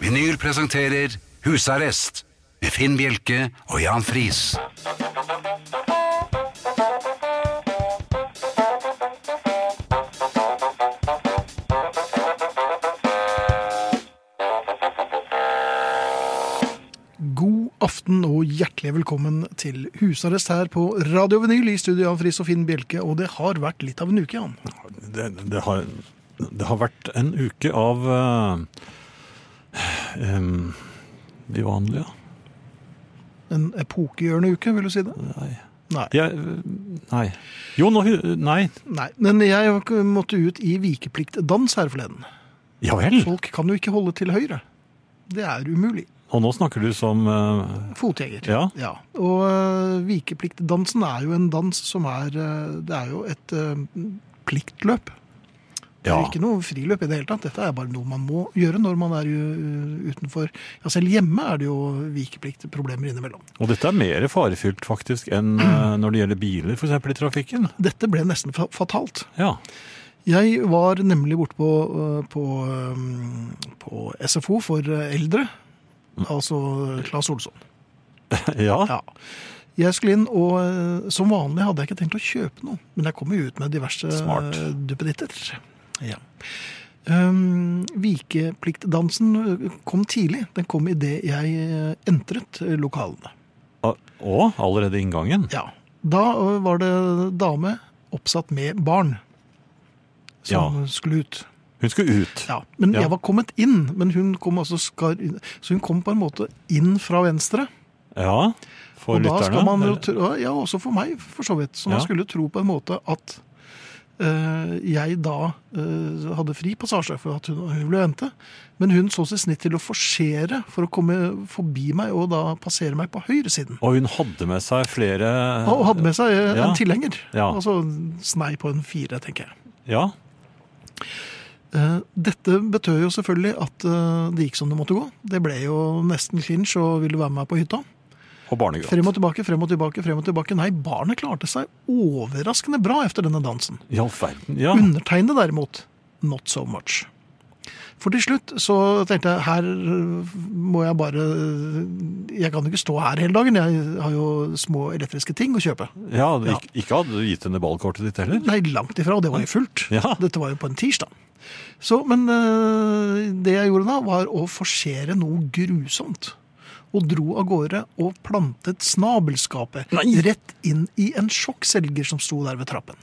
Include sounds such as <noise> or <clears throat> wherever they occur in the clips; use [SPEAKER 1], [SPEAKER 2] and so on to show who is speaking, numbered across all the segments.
[SPEAKER 1] Vinyl presenterer Husarrest med Finn Bjelke og Jan Friis.
[SPEAKER 2] God aften og hjertelig velkommen til husarrest her på Radio Vinyl i studio Jan Friis og Finn Bjelke. Og det har vært litt av en uke, Jan.
[SPEAKER 3] Det, det, har, det har vært en uke av eh, em, de vanlige.
[SPEAKER 2] En epokegjørende uke, vil du si det?
[SPEAKER 3] Nei.
[SPEAKER 2] Nei.
[SPEAKER 3] Jeg, nei. Jo, nå hu- Nei.
[SPEAKER 2] Nei. Men jeg måtte ut i vikepliktdans her forleden.
[SPEAKER 3] Ja vel!
[SPEAKER 2] Folk kan jo ikke holde til høyre. Det er umulig.
[SPEAKER 3] Og nå snakker du som eh,
[SPEAKER 2] Fotgjenger.
[SPEAKER 3] Ja.
[SPEAKER 2] Og øh, vikepliktdansen er jo en dans som er øh, Det er jo et øh, pliktløp. Det
[SPEAKER 3] Ja.
[SPEAKER 2] er ikke noe friløp i det hele tatt. Dette er bare noe man må gjøre når man er øh, utenfor Ja, selv hjemme er det jo vikepliktproblemer innimellom.
[SPEAKER 3] Og dette er mer farefylt faktisk enn eh, når det gjelder biler, f.eks. i trafikken.
[SPEAKER 2] Dette ble nesten fa- fatalt.
[SPEAKER 3] Ja.
[SPEAKER 2] Jeg var nemlig borte på, øh, på, øhm, på SFO for øh, eldre, altså Claes Olsson.
[SPEAKER 3] ja.
[SPEAKER 2] Ja. Jeg skulle inn, og eh, som vanlig hadde jeg ikke tenkt å kjøpe noe. Men jeg kom jo ut med diverse
[SPEAKER 3] Smart.
[SPEAKER 2] eh, duppeditter. Ja. Um, vikepliktdansen eh, kom tidlig. Den kom idet jeg eh, entret eh, lokalene.
[SPEAKER 3] Ah, Og allerede i inngangen.
[SPEAKER 2] Ja. Da eh, var det dame oppsatt med barn som skulle ut.
[SPEAKER 3] Hun skulle ut.
[SPEAKER 2] Ja, men
[SPEAKER 3] Ja.
[SPEAKER 2] jeg var kommet inn, men hun kom altså skar inn. Så hun kom på en måte inn fra venstre.
[SPEAKER 3] Ja. For
[SPEAKER 2] og da skal
[SPEAKER 3] lytterne.
[SPEAKER 2] man jo
[SPEAKER 3] eller-
[SPEAKER 2] tro, ja, også for meg, for så vidt. Så man
[SPEAKER 3] Ja.
[SPEAKER 2] skulle tro på en måte at eh, jeg da eh, hadde fri passasje for at hun, hun ville vente. Men hun så seg snitt til å forsere for å komme forbi meg og da passere meg på høyresiden.
[SPEAKER 3] Og hun hadde med seg flere
[SPEAKER 2] Og hadde med seg eh,
[SPEAKER 3] Ja.
[SPEAKER 2] en tilhenger.
[SPEAKER 3] Ja.
[SPEAKER 2] Altså snei på en fire, tenker jeg.
[SPEAKER 3] Ja.
[SPEAKER 2] Eh, Dette betød jo selvfølgelig at eh, det gikk som det måtte gå. Det ble jo nesten klinsj og ville være med meg på hytta.
[SPEAKER 3] Og barnegråt.
[SPEAKER 2] Frem og tilbake, frem og tilbake, frem og tilbake. Nei, barnet klarte seg overraskende bra efter denne dansen.
[SPEAKER 3] I all verden. Ja.
[SPEAKER 2] Undertegnede derimot, not so much. For til slutt så tenkte jeg her øh, må jeg bare øh, Jeg kan jo ikke stå her hele dagen. Jeg har jo små elektriske ting å kjøpe.
[SPEAKER 3] Ja,
[SPEAKER 2] Ja.
[SPEAKER 3] Ikke, ikke hadde du gitt henne ballkortet ditt heller?
[SPEAKER 2] <laughs> Nei, langt ifra. Og det var jo fullt.
[SPEAKER 3] Ja.
[SPEAKER 2] Dette var jo på en tirsdag. Så, men øh, det jeg gjorde da, var å forsere noe grusomt. Og dro av gårde og plantet snabelskapet
[SPEAKER 3] Nei.
[SPEAKER 2] rett inn i en sjokkselger som sto der ved trappen.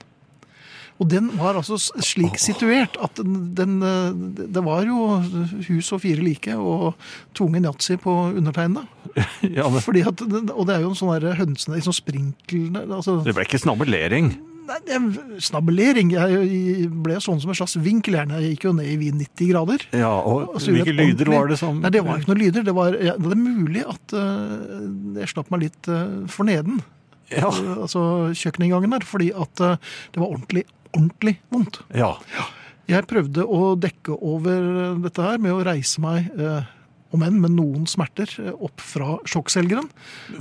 [SPEAKER 2] Og den var altså s- slik situert at den, den øh, Det var jo hus og fire like og tvungen yatzy på undertegnede.
[SPEAKER 3] Ja, men
[SPEAKER 2] Fordi at, og det er jo en sånn der hønsene, en sånn sprinklende altså,
[SPEAKER 3] det ble ikke snabbelering.
[SPEAKER 2] Nei, jeg- Snabbelering. Jeg ble sånn som en slags vinkel. her, når Jeg gikk jo ned i vin 90 grader.
[SPEAKER 3] Ja, og
[SPEAKER 2] Og så gjorde
[SPEAKER 3] hvilke
[SPEAKER 2] jeg et
[SPEAKER 3] lyder
[SPEAKER 2] ordentlig-
[SPEAKER 3] var det som
[SPEAKER 2] Nei, Det var ikke noen lyder. Det, var, ja, det er mulig at eh, jeg slapp meg litt eh, for neden.
[SPEAKER 3] Ja,
[SPEAKER 2] Eh, altså kjøkkeninngangen der. Fordi at eh, det var ordentlig, ordentlig vondt.
[SPEAKER 3] ja.
[SPEAKER 2] Jeg prøvde å dekke over eh, dette her med å reise meg, eh, om enn med noen smerter, eh, opp fra sjokkselgeren.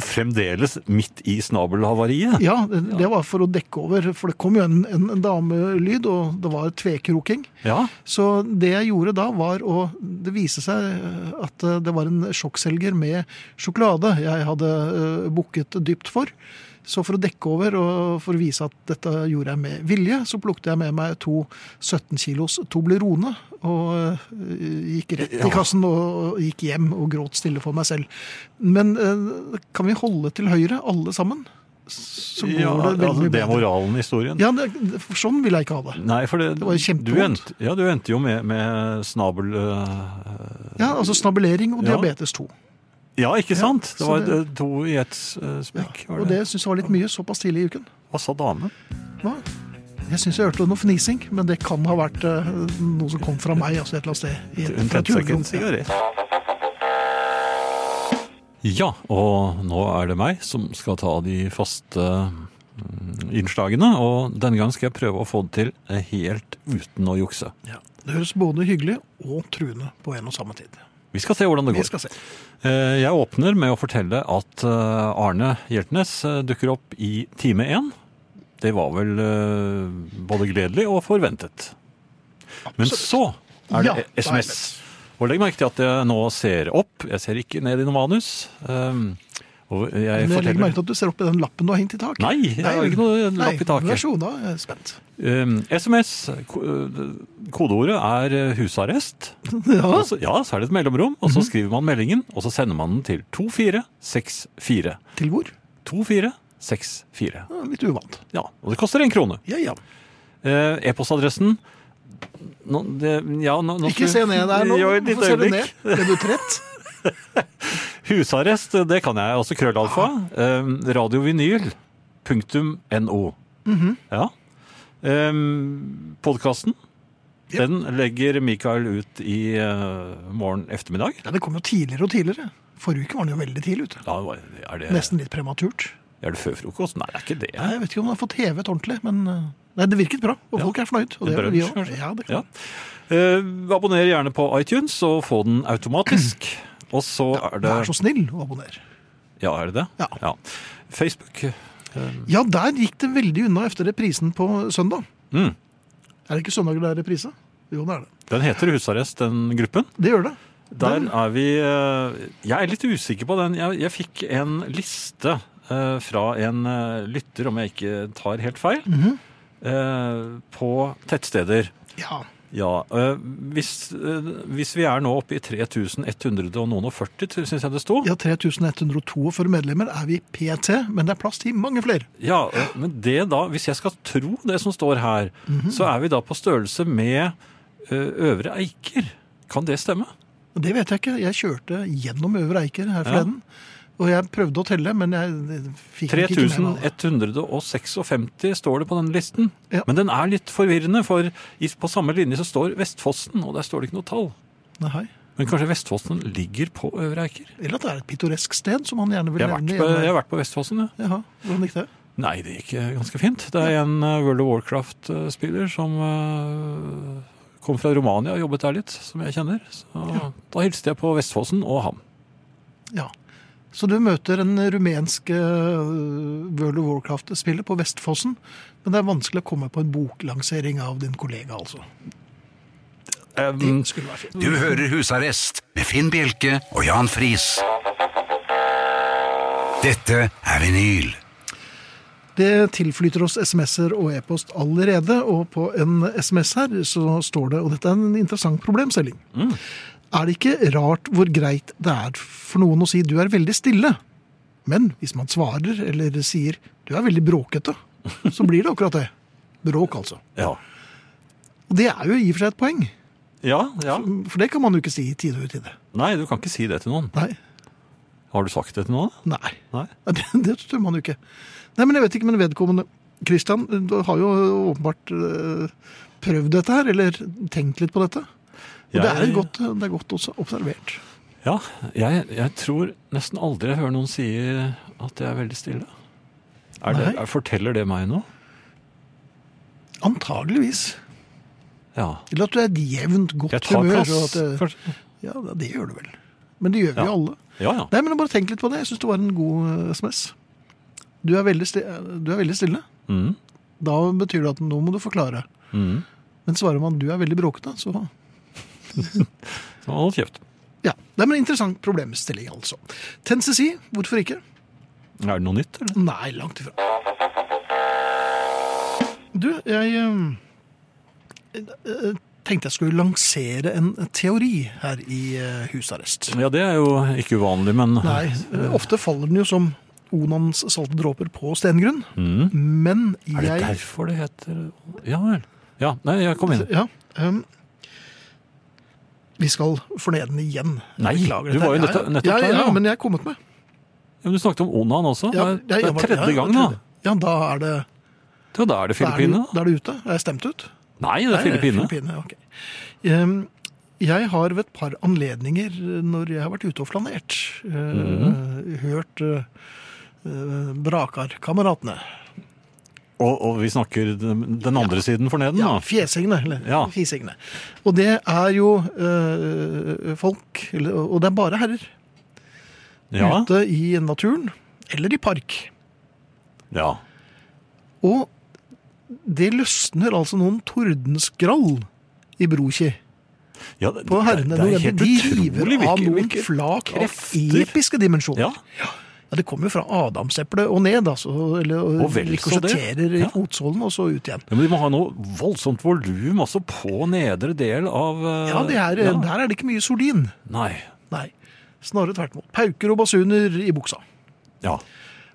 [SPEAKER 3] Fremdeles midt i snabelhavariet.
[SPEAKER 2] Ja, det, det var for å dekke over, for det kom jo en, en, en damelyd, og det var tvekroking.
[SPEAKER 3] Ja.
[SPEAKER 2] Så det jeg gjorde da var å Det viste seg eh, at eh, det var en sjokkselger med sjokolade jeg hadde eh, bukket dypt for. Så for å dekke over og for å vise at dette gjorde jeg med vilje, så plukket jeg med meg to 17 kilos Toblerone og eh, gikk rett i kassen og gikk hjem og gråt stille for meg selv. Men eh, kan vi holde til høyre, alle sammen? Så går
[SPEAKER 3] ja
[SPEAKER 2] det veldig
[SPEAKER 3] altså,
[SPEAKER 2] mye
[SPEAKER 3] det er
[SPEAKER 2] bedre.
[SPEAKER 3] moralen i historien.
[SPEAKER 2] Ja, det, det- for sånn vil jeg ikke ha det.
[SPEAKER 3] Nei, for det,
[SPEAKER 2] var jo
[SPEAKER 3] du,
[SPEAKER 2] kjempevondt.
[SPEAKER 3] endte, ja, du endte jo med, med snabel... øh,
[SPEAKER 2] Ja, altså snabelering og
[SPEAKER 3] Ja.
[SPEAKER 2] diabetes 2.
[SPEAKER 3] ja, ikke sant? det
[SPEAKER 2] så
[SPEAKER 3] var
[SPEAKER 2] det-
[SPEAKER 3] øh, to i ett øh, smekk. var
[SPEAKER 2] Og det syns jeg var litt mye såpass tidlig i uken.
[SPEAKER 3] Hva sa damen?
[SPEAKER 2] Hva? Jeg syns jeg hørte noe fnising, men det kan ha vært eh, noe som kom fra meg. altså et eller annet sted. i-
[SPEAKER 3] Hun
[SPEAKER 2] fra
[SPEAKER 3] tente seg ikke
[SPEAKER 2] tullerom.
[SPEAKER 3] en sigarett. Ja, og nå er det meg som skal ta de faste mm, innslagene, og denne gang skal jeg prøve å få det til eh, helt uten å jukse.
[SPEAKER 2] Ja. Det høres både hyggelig og truende på en og samme tid.
[SPEAKER 3] Vi skal se hvordan det
[SPEAKER 2] Vi
[SPEAKER 3] går.
[SPEAKER 2] skal se.
[SPEAKER 3] Eh, Jeg åpner med å fortelle at eh, Arne Hjeltnes eh, dukker opp i time 1. Det var vel eh, både gledelig og forventet. Men så er det
[SPEAKER 2] Ja,
[SPEAKER 3] SMS. Og legg merke til at jeg nå ser opp. Jeg ser ikke ned i noe manus. Um, og jeg
[SPEAKER 2] Men jeg legger
[SPEAKER 3] forteller
[SPEAKER 2] merke til at du ser opp i den lappen du har hengt i taket.
[SPEAKER 3] Nei, jeg har ikke noe
[SPEAKER 2] Nei,
[SPEAKER 3] lapp i taket.
[SPEAKER 2] Vær så god, da. er Jeg er spent.
[SPEAKER 3] um, SMS. ko- øh, Kodeordet er eh, husarrest.
[SPEAKER 2] <laughs> Ja. Mhm.
[SPEAKER 3] Og så, ja, så er det et mellomrom, og så skriver man meldingen, og så sender man den til 2464.
[SPEAKER 2] Til hvor?
[SPEAKER 3] 2464.
[SPEAKER 2] Ja, Litt uvant.
[SPEAKER 3] Ja, og det koster en krone.
[SPEAKER 2] Ja, ja.
[SPEAKER 3] Eh, E-postadressen nå, det, ja, nå, nå
[SPEAKER 2] Ikke se
[SPEAKER 3] skulle-
[SPEAKER 2] ned der nå.
[SPEAKER 3] <laughs> Jo, et
[SPEAKER 2] Hvorfor
[SPEAKER 3] lite
[SPEAKER 2] ser du
[SPEAKER 3] øyeblikk.
[SPEAKER 2] ned? Ble du trett?
[SPEAKER 3] Husarrest, det kan jeg også, krøllalfa. Eh, Radiovinyl.no.
[SPEAKER 2] Mhm.
[SPEAKER 3] Ja. Eh, Podkasten.
[SPEAKER 2] Ja.
[SPEAKER 3] Den legger Mikael ut i eh, morgen ettermiddag.
[SPEAKER 2] Ja, det kom jo tidligere og tidligere. Forrige uke var den jo veldig tidlig ute.
[SPEAKER 3] Da var- er, det,
[SPEAKER 2] Nesten litt prematurt.
[SPEAKER 3] er det før frokost? Nei, det er ikke det.
[SPEAKER 2] Nei, Jeg vet ikke om den har fått hevet ordentlig, men eh, nei, det virket bra. Og
[SPEAKER 3] Ja.
[SPEAKER 2] folk er fornøyd. Og
[SPEAKER 3] En
[SPEAKER 2] det er
[SPEAKER 3] brunch,
[SPEAKER 2] vi også.
[SPEAKER 3] kanskje?
[SPEAKER 2] Ja, det er
[SPEAKER 3] Ja.
[SPEAKER 2] klart.
[SPEAKER 3] Eh, abonner gjerne på iTunes og få den
[SPEAKER 2] <clears throat>
[SPEAKER 3] automatisk. Og så er det
[SPEAKER 2] Vær så snill å abonnere.
[SPEAKER 3] Ja, er det det?
[SPEAKER 2] Ja.
[SPEAKER 3] Facebook.
[SPEAKER 2] Ja, der gikk det veldig unna etter reprisen på søndag.
[SPEAKER 3] Mm.
[SPEAKER 2] Er det ikke søndager det er reprise? Jo, det er det.
[SPEAKER 3] Den heter Husarrest, den gruppen.
[SPEAKER 2] Det gjør det.
[SPEAKER 3] Der
[SPEAKER 2] Den-
[SPEAKER 3] er vi eh, Jeg er litt usikker på den. Jeg, jeg fikk en liste eh, fra en eh, lytter, om jeg ikke tar helt feil,
[SPEAKER 2] Mhm.
[SPEAKER 3] eh, på tettsteder.
[SPEAKER 2] Ja.
[SPEAKER 3] Ja, eh, hvis, eh, hvis vi er nå oppe i 3100 og noen og 40, syns jeg det sto.
[SPEAKER 2] ja, 3142 medlemmer er vi PT, men det er plass til mange flere.
[SPEAKER 3] Ja, eh, men det da, hvis jeg skal tro det som står her,
[SPEAKER 2] Mhm.
[SPEAKER 3] så er vi da på størrelse med ø, Øvre Eiker. Kan det stemme?
[SPEAKER 2] Og Det vet jeg ikke. Jeg kjørte gjennom Øvre Eiker her
[SPEAKER 3] Ja.
[SPEAKER 2] forleden. Og jeg prøvde å telle, men jeg fikk nok ikke med meg det.
[SPEAKER 3] 3156 står det på den listen.
[SPEAKER 2] Ja.
[SPEAKER 3] Men den er litt forvirrende, for i- på samme linje så står Vestfossen, og der står det ikke noe tall.
[SPEAKER 2] Nei.
[SPEAKER 3] Men kanskje Vestfossen ligger på Øvre Eiker?
[SPEAKER 2] Eller at det er et pittoresk sted, som han gjerne vil
[SPEAKER 3] Jeg har vært
[SPEAKER 2] nevne.
[SPEAKER 3] på, jeg
[SPEAKER 2] igjen.
[SPEAKER 3] har vært på Vestfossen, ja.
[SPEAKER 2] Jaha, hvordan gikk det?
[SPEAKER 3] Nei, det gikk eh, ganske fint. Det er en eh, World of Warcraft-spiller som eh, kom fra Romania og jobbet der litt, som jeg kjenner. Så da hilste jeg på Vestfossen og ham.
[SPEAKER 2] Ja. Så du møter en rumensk eh, World of Warcraft-spiller på Vestfossen, men det er vanskelig å komme på en boklansering av din kollega, altså. Det
[SPEAKER 3] Um,
[SPEAKER 2] skulle være fint.
[SPEAKER 1] Du hører Husarrest med Finn Bjelke og Jan Friis. Dette er vinyl.
[SPEAKER 2] Det tilflyter oss SMS-er og e-post allerede, og på en SMS her så står det, og dette er en interessant problemstilling, er det ikke rart hvor greit det er for noen å si du er veldig stille, men hvis man svarer eller sier du er veldig bråkete, så blir det akkurat det. Bråk, altså.
[SPEAKER 3] ja.
[SPEAKER 2] Og det er jo i og for seg et poeng,
[SPEAKER 3] ja, ja.
[SPEAKER 2] for det kan man jo ikke si i tide og utide.
[SPEAKER 3] Nei, du kan ikke si det til noen.
[SPEAKER 2] Nei.
[SPEAKER 3] Har du sagt det til noen?
[SPEAKER 2] Nei. <laughs>
[SPEAKER 3] Nei.
[SPEAKER 2] Ja, Det, det tør man jo ikke. Nei, men jeg vet ikke, men vedkommende Kristian har jo åpenbart eh, prøvd dette her, eller tenkt litt på dette. Og det, er
[SPEAKER 3] Jeg-
[SPEAKER 2] godt, det er godt også observert.
[SPEAKER 3] Ja, jeg, jeg tror nesten aldri jeg hører noen si at jeg er veldig stille. Er det,
[SPEAKER 2] Nei.
[SPEAKER 3] er, forteller det meg noe?
[SPEAKER 2] Antageligvis.
[SPEAKER 3] Ja.
[SPEAKER 2] Eller at du er et jevnt godt
[SPEAKER 3] Jeg tar
[SPEAKER 2] humør.
[SPEAKER 3] plass.
[SPEAKER 2] og at det,
[SPEAKER 3] kanskje.
[SPEAKER 2] ja, det gjør du vel. Men det gjør vi
[SPEAKER 3] Ja.
[SPEAKER 2] jo alle.
[SPEAKER 3] Ja, ja.
[SPEAKER 2] Nei, men bare tenk litt på det. Jeg syns det var en god eh, SMS. Du er veldig, sti eh, du er veldig stille.
[SPEAKER 3] Mm.
[SPEAKER 2] Da betyr det at nå må du forklare.
[SPEAKER 3] Mm.
[SPEAKER 2] Men svarer man du er veldig bråkete, så
[SPEAKER 3] Så hold kjeft.
[SPEAKER 2] Ja, det er en interessant problemstilling, altså. Tensesi, hvorfor ikke?
[SPEAKER 3] Er det noe nytt, eller?
[SPEAKER 2] Nei, langt ifra. Du, jeg eh, eh, tenkte jeg skulle lansere en teori her i eh, husarrest.
[SPEAKER 3] Ja, det er jo ikke uvanlig, men
[SPEAKER 2] Nei, eh, ofte faller den jo som Onans salte dråper på stengrunn,
[SPEAKER 3] Mm.
[SPEAKER 2] men
[SPEAKER 3] Er det
[SPEAKER 2] jeg
[SPEAKER 3] derfor det heter Ja vel. Ja, nei, jeg kom inn.
[SPEAKER 2] Ja, em, vi skal fornede den igjen.
[SPEAKER 3] Nei,
[SPEAKER 2] Beklager
[SPEAKER 3] du
[SPEAKER 2] dette.
[SPEAKER 3] var jo
[SPEAKER 2] Ja,
[SPEAKER 3] nettopp-
[SPEAKER 2] ja.
[SPEAKER 3] nettopp
[SPEAKER 2] ja,
[SPEAKER 3] der,
[SPEAKER 2] ja,
[SPEAKER 3] ja.
[SPEAKER 2] men jeg er kommet med.
[SPEAKER 3] Ja, men du snakket om Onan også.
[SPEAKER 2] Ja,
[SPEAKER 3] det er,
[SPEAKER 2] ja,
[SPEAKER 3] det
[SPEAKER 2] jeg
[SPEAKER 3] er
[SPEAKER 2] var-
[SPEAKER 3] tredje
[SPEAKER 2] ja,
[SPEAKER 3] gang, da.
[SPEAKER 2] Ja, da er det
[SPEAKER 3] Ja, da
[SPEAKER 2] Da er
[SPEAKER 3] er det
[SPEAKER 2] det-
[SPEAKER 3] Filippinene. da.
[SPEAKER 2] Da er det ute. Er jeg stemt ut?
[SPEAKER 3] Nei, det er Filippinene.
[SPEAKER 2] Filippinene, ok. Ehm, Jeg har ved et par anledninger eh, når jeg har vært ute og flanert, eh,
[SPEAKER 3] Mhm.
[SPEAKER 2] hørt eh, eh, Brakarkameratene.
[SPEAKER 3] Og, og vi snakker den den andre siden for neden,
[SPEAKER 2] Ja,
[SPEAKER 3] da.
[SPEAKER 2] fjesingene. Eller
[SPEAKER 3] Ja.
[SPEAKER 2] fisingene. Og det er jo eh, folk, eller, og det er bare herrer,
[SPEAKER 3] Ja.
[SPEAKER 2] ute i naturen eller i park.
[SPEAKER 3] ja.
[SPEAKER 2] Og det løsner altså noen tordenskrall i Broki.
[SPEAKER 3] Ja, det,
[SPEAKER 2] på herrene.
[SPEAKER 3] det er
[SPEAKER 2] November.
[SPEAKER 3] helt
[SPEAKER 2] De
[SPEAKER 3] utrolig
[SPEAKER 2] river av
[SPEAKER 3] hvilke-
[SPEAKER 2] noen
[SPEAKER 3] hvilke
[SPEAKER 2] flak av
[SPEAKER 3] krefter.
[SPEAKER 2] episke dimensjoner.
[SPEAKER 3] Ja.
[SPEAKER 2] Ja, Det kommer jo fra adamseplet og ned, altså. Eller,
[SPEAKER 3] Og vel så det.
[SPEAKER 2] rikosjetterer i
[SPEAKER 3] Ja.
[SPEAKER 2] fotsålen og så ut igjen.
[SPEAKER 3] Ja, men de må ha noe voldsomt volum altså på nedre del av eh,
[SPEAKER 2] Ja, det er,
[SPEAKER 3] ja.
[SPEAKER 2] Der er det ikke mye sordin.
[SPEAKER 3] Nei.
[SPEAKER 2] Nei. Snarere tvert imot. Pauker og basuner i buksa.
[SPEAKER 3] Ja.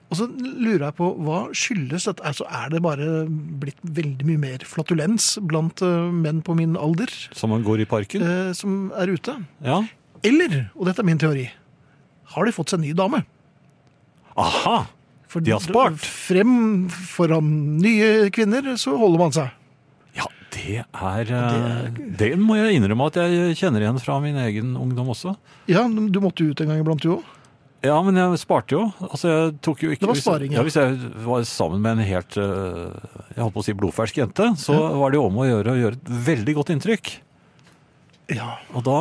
[SPEAKER 2] Og så lurer jeg på, hva skyldes dette? Altså, er det bare blitt veldig mye mer flatulens blant eh, menn på min alder
[SPEAKER 3] Som man går i parken.
[SPEAKER 2] eh, som er ute?
[SPEAKER 3] Ja.
[SPEAKER 2] Eller, og dette er min teori, har de fått seg en ny dame?
[SPEAKER 3] Aha!
[SPEAKER 2] For
[SPEAKER 3] De har spart.
[SPEAKER 2] Frem foran nye kvinner, så holder man seg.
[SPEAKER 3] Ja, det er eh, Det må jeg innrømme at jeg kjenner igjen fra min egen ungdom også.
[SPEAKER 2] Ja, du måtte jo ut en gang iblant, du òg.
[SPEAKER 3] Ja, men jeg sparte jo. Altså, jeg tok jo ikke
[SPEAKER 2] Det var
[SPEAKER 3] hvis-
[SPEAKER 2] sparing, ja.
[SPEAKER 3] ja. Hvis jeg var sammen med en helt eh, jeg holdt på å si blodfersk jente, så var det jo om å gjøre å gjøre et veldig godt inntrykk.
[SPEAKER 2] Ja.
[SPEAKER 3] Og da,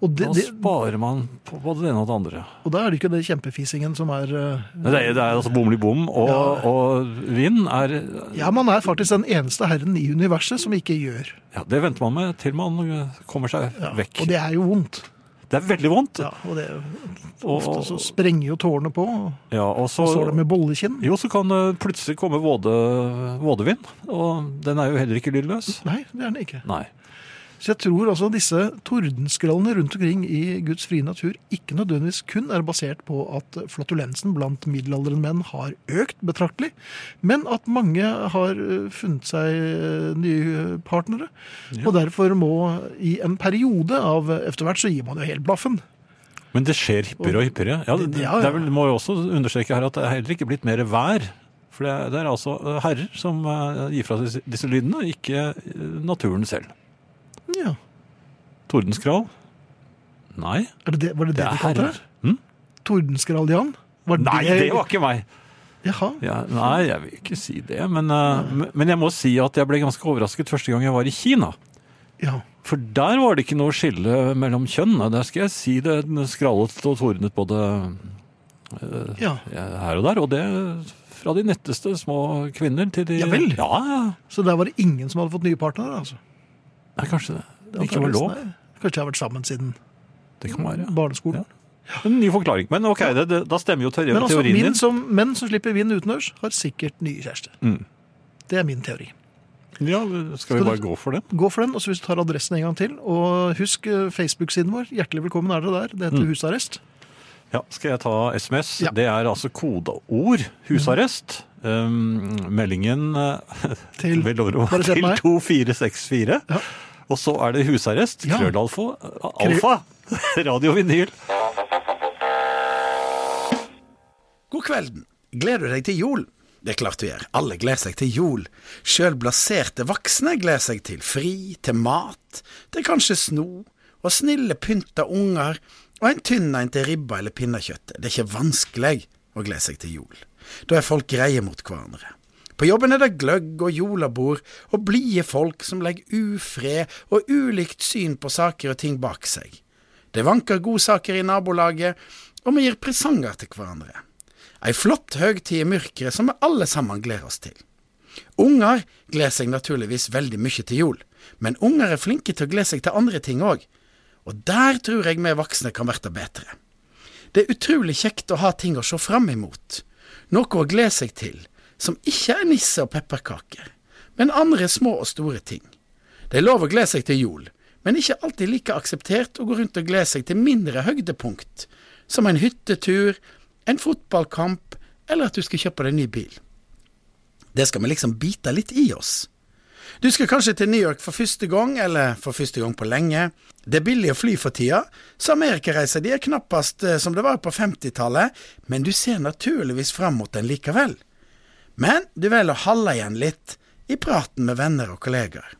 [SPEAKER 2] Og, det,
[SPEAKER 3] da
[SPEAKER 2] det,
[SPEAKER 3] sparer man på både det ene og det andre.
[SPEAKER 2] og da er det ikke det kjempefisingen som er eh,
[SPEAKER 3] Men Det er, det er altså bomli bom, og,
[SPEAKER 2] Ja.
[SPEAKER 3] og vind er
[SPEAKER 2] Ja, man er faktisk den eneste herren i universet som ikke gjør.
[SPEAKER 3] Ja, det venter man med til man eh, kommer seg
[SPEAKER 2] Ja.
[SPEAKER 3] vekk.
[SPEAKER 2] Og det er jo vondt.
[SPEAKER 3] Det er veldig vondt.
[SPEAKER 2] Ja, og det,
[SPEAKER 3] Og-
[SPEAKER 2] ofte så sprenger jo tårene på, og
[SPEAKER 3] Ja, og så,
[SPEAKER 2] så står det med bollekinn.
[SPEAKER 3] Jo, så kan det plutselig komme våde, vådevind, og den er jo heller ikke lydløs.
[SPEAKER 2] Nei, det er den ikke.
[SPEAKER 3] Nei.
[SPEAKER 2] Så jeg tror altså disse tordenskrallene rundt omkring i Guds frie natur ikke nødvendigvis kun er basert på at flatulensen blant middelaldrende menn har økt betraktelig, men at mange har eh, funnet seg eh, nye partnere. Og derfor må i en periode av Etter hvert så gir man jo helt blaffen.
[SPEAKER 3] Men det skjer hyppigere og hyppigere. Ja, det,
[SPEAKER 2] Ja, ja.
[SPEAKER 3] det er vel, må jo også understreke her at det er heller ikke blitt mer vær. For det, er- det er altså eh, herrer som eh, gir fra seg disse- disse lydene, ikke eh, naturen selv.
[SPEAKER 2] Ja.
[SPEAKER 3] Tordenskrall? Nei,
[SPEAKER 2] Er det det, var det det,
[SPEAKER 3] det er
[SPEAKER 2] de kalte
[SPEAKER 3] herrer.
[SPEAKER 2] det?
[SPEAKER 3] Hm?
[SPEAKER 2] Tordenskrall, Jan? Var
[SPEAKER 3] Nei, det var ikke meg.
[SPEAKER 2] Jaha.
[SPEAKER 3] Ja, nei, jeg vil ikke si det. Men, eh, men- men jeg må si at jeg ble ganske overrasket første gang jeg var i Kina.
[SPEAKER 2] Ja.
[SPEAKER 3] For der var det ikke noe skille mellom kjønnene. Der skal jeg si det skrallet og tornet både
[SPEAKER 2] ja.
[SPEAKER 3] eh, her og der. Og det fra de netteste små kvinner til de
[SPEAKER 2] Ja vel.
[SPEAKER 3] Ja, ja.
[SPEAKER 2] Så der var det ingen som hadde fått nye partnere, altså?
[SPEAKER 3] Nei, kanskje det. det ikke var lov.
[SPEAKER 2] Nei. Kanskje de har vært sammen siden
[SPEAKER 3] Det kan være.
[SPEAKER 2] barneskolen.
[SPEAKER 3] Ja. En ny forklaring. Men ok, det, det, da stemmer jo teori,
[SPEAKER 2] Men altså,
[SPEAKER 3] teorien
[SPEAKER 2] menn
[SPEAKER 3] din.
[SPEAKER 2] som, menn som slipper vind utendørs, har sikkert nye kjærester.
[SPEAKER 3] Mm.
[SPEAKER 2] Det er min teori.
[SPEAKER 3] Ja, skal
[SPEAKER 2] du-
[SPEAKER 3] vi bare gå for det?
[SPEAKER 2] Gå for den, og så hvis du tar adressen en gang til. Og husk eh, Facebook-siden vår. Hjertelig velkommen er dere der. Det
[SPEAKER 3] Mm.
[SPEAKER 2] heter Husarrest.
[SPEAKER 3] Ja, skal jeg ta SMS?
[SPEAKER 2] Ja.
[SPEAKER 3] Det er altså kodeord husarrest. Um, meldingen eh,
[SPEAKER 2] <laughs> Til-
[SPEAKER 3] vel over-
[SPEAKER 2] bare se på
[SPEAKER 3] til
[SPEAKER 2] meg.
[SPEAKER 3] 2464.
[SPEAKER 2] Ja.
[SPEAKER 3] Og så er det husarrest.
[SPEAKER 2] Ja.
[SPEAKER 3] Krøllalfa. Alfa. <laughs> Radio Vinyl.
[SPEAKER 4] God kvelden. Gleder du deg til jul? Det er klart du gjør. Alle gleder seg til jul. Sjøl blaserte voksne gleder seg til fri, til mat, til kanskje sno, og snille pynta unger, og en tynn en til ribba eller pinnekjøttet. Det er ikke vanskelig å glede seg til jul. Da er folk greie mot hverandre. På jobben er det gløgg og julebord og blide folk som legger ufred og ulikt syn på saker og ting bak seg. Det vanker godsaker i nabolaget, og vi gir presanger til hverandre. Ei flott høgtid i mørket som vi alle sammen gleder oss til. Unger gleder seg naturligvis veldig mye til jul, men unger er flinke til å glede seg til andre ting òg, og der tror jeg vi voksne kan bli bedre. Det er utrolig kjekt å ha ting å se fram imot, noe å glede seg til, som ikke er nisse og pepperkaker, men andre små og store ting. Det er lov å glede seg til jul, men ikke alltid like akseptert å gå rundt og glede seg til mindre høydepunkt, som en hyttetur, en fotballkamp eller at du skal kjøpe deg ny bil. Det skal vi liksom bite litt i oss. Du skal kanskje til New York for første gang, eller for første gang på lenge. Det er billig å fly for tida, så amerikareiser de er knappast eh, som det var på 50-tallet, men du ser naturligvis fram mot den likevel. Men du velger å holde igjen litt i praten med venner og kollegaer.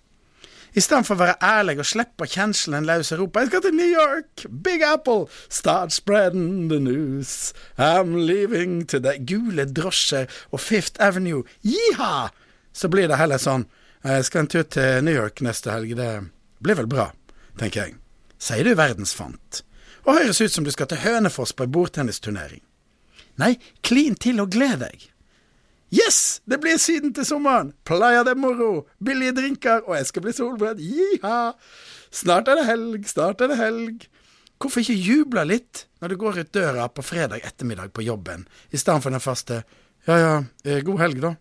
[SPEAKER 4] I stedet for å være ærlig og slippe kjenslen løs og rope 'Jeg skal til New York! Big Apple! Start spreading the news! I'm leaving to the Gule drosjer og Fifth Avenue! Jiha! Så blir det heller sånn 'Jeg skal en tur til New York neste helg. Det blir vel bra', tenker jeg. Sier du verdensfant. Og høres ut som du skal til Hønefoss på ei bordtennisturnering. Nei, klin til og gled deg. Yes, det blir Syden til sommeren! Playa de moro, billige drinker, og jeg skal bli solbrent. Jiha! Snart er det helg, snart er det helg. Hvorfor ikke juble litt når du går ut døra på fredag ettermiddag på jobben, i stedet for den faste ja ja, eh, god helg, da?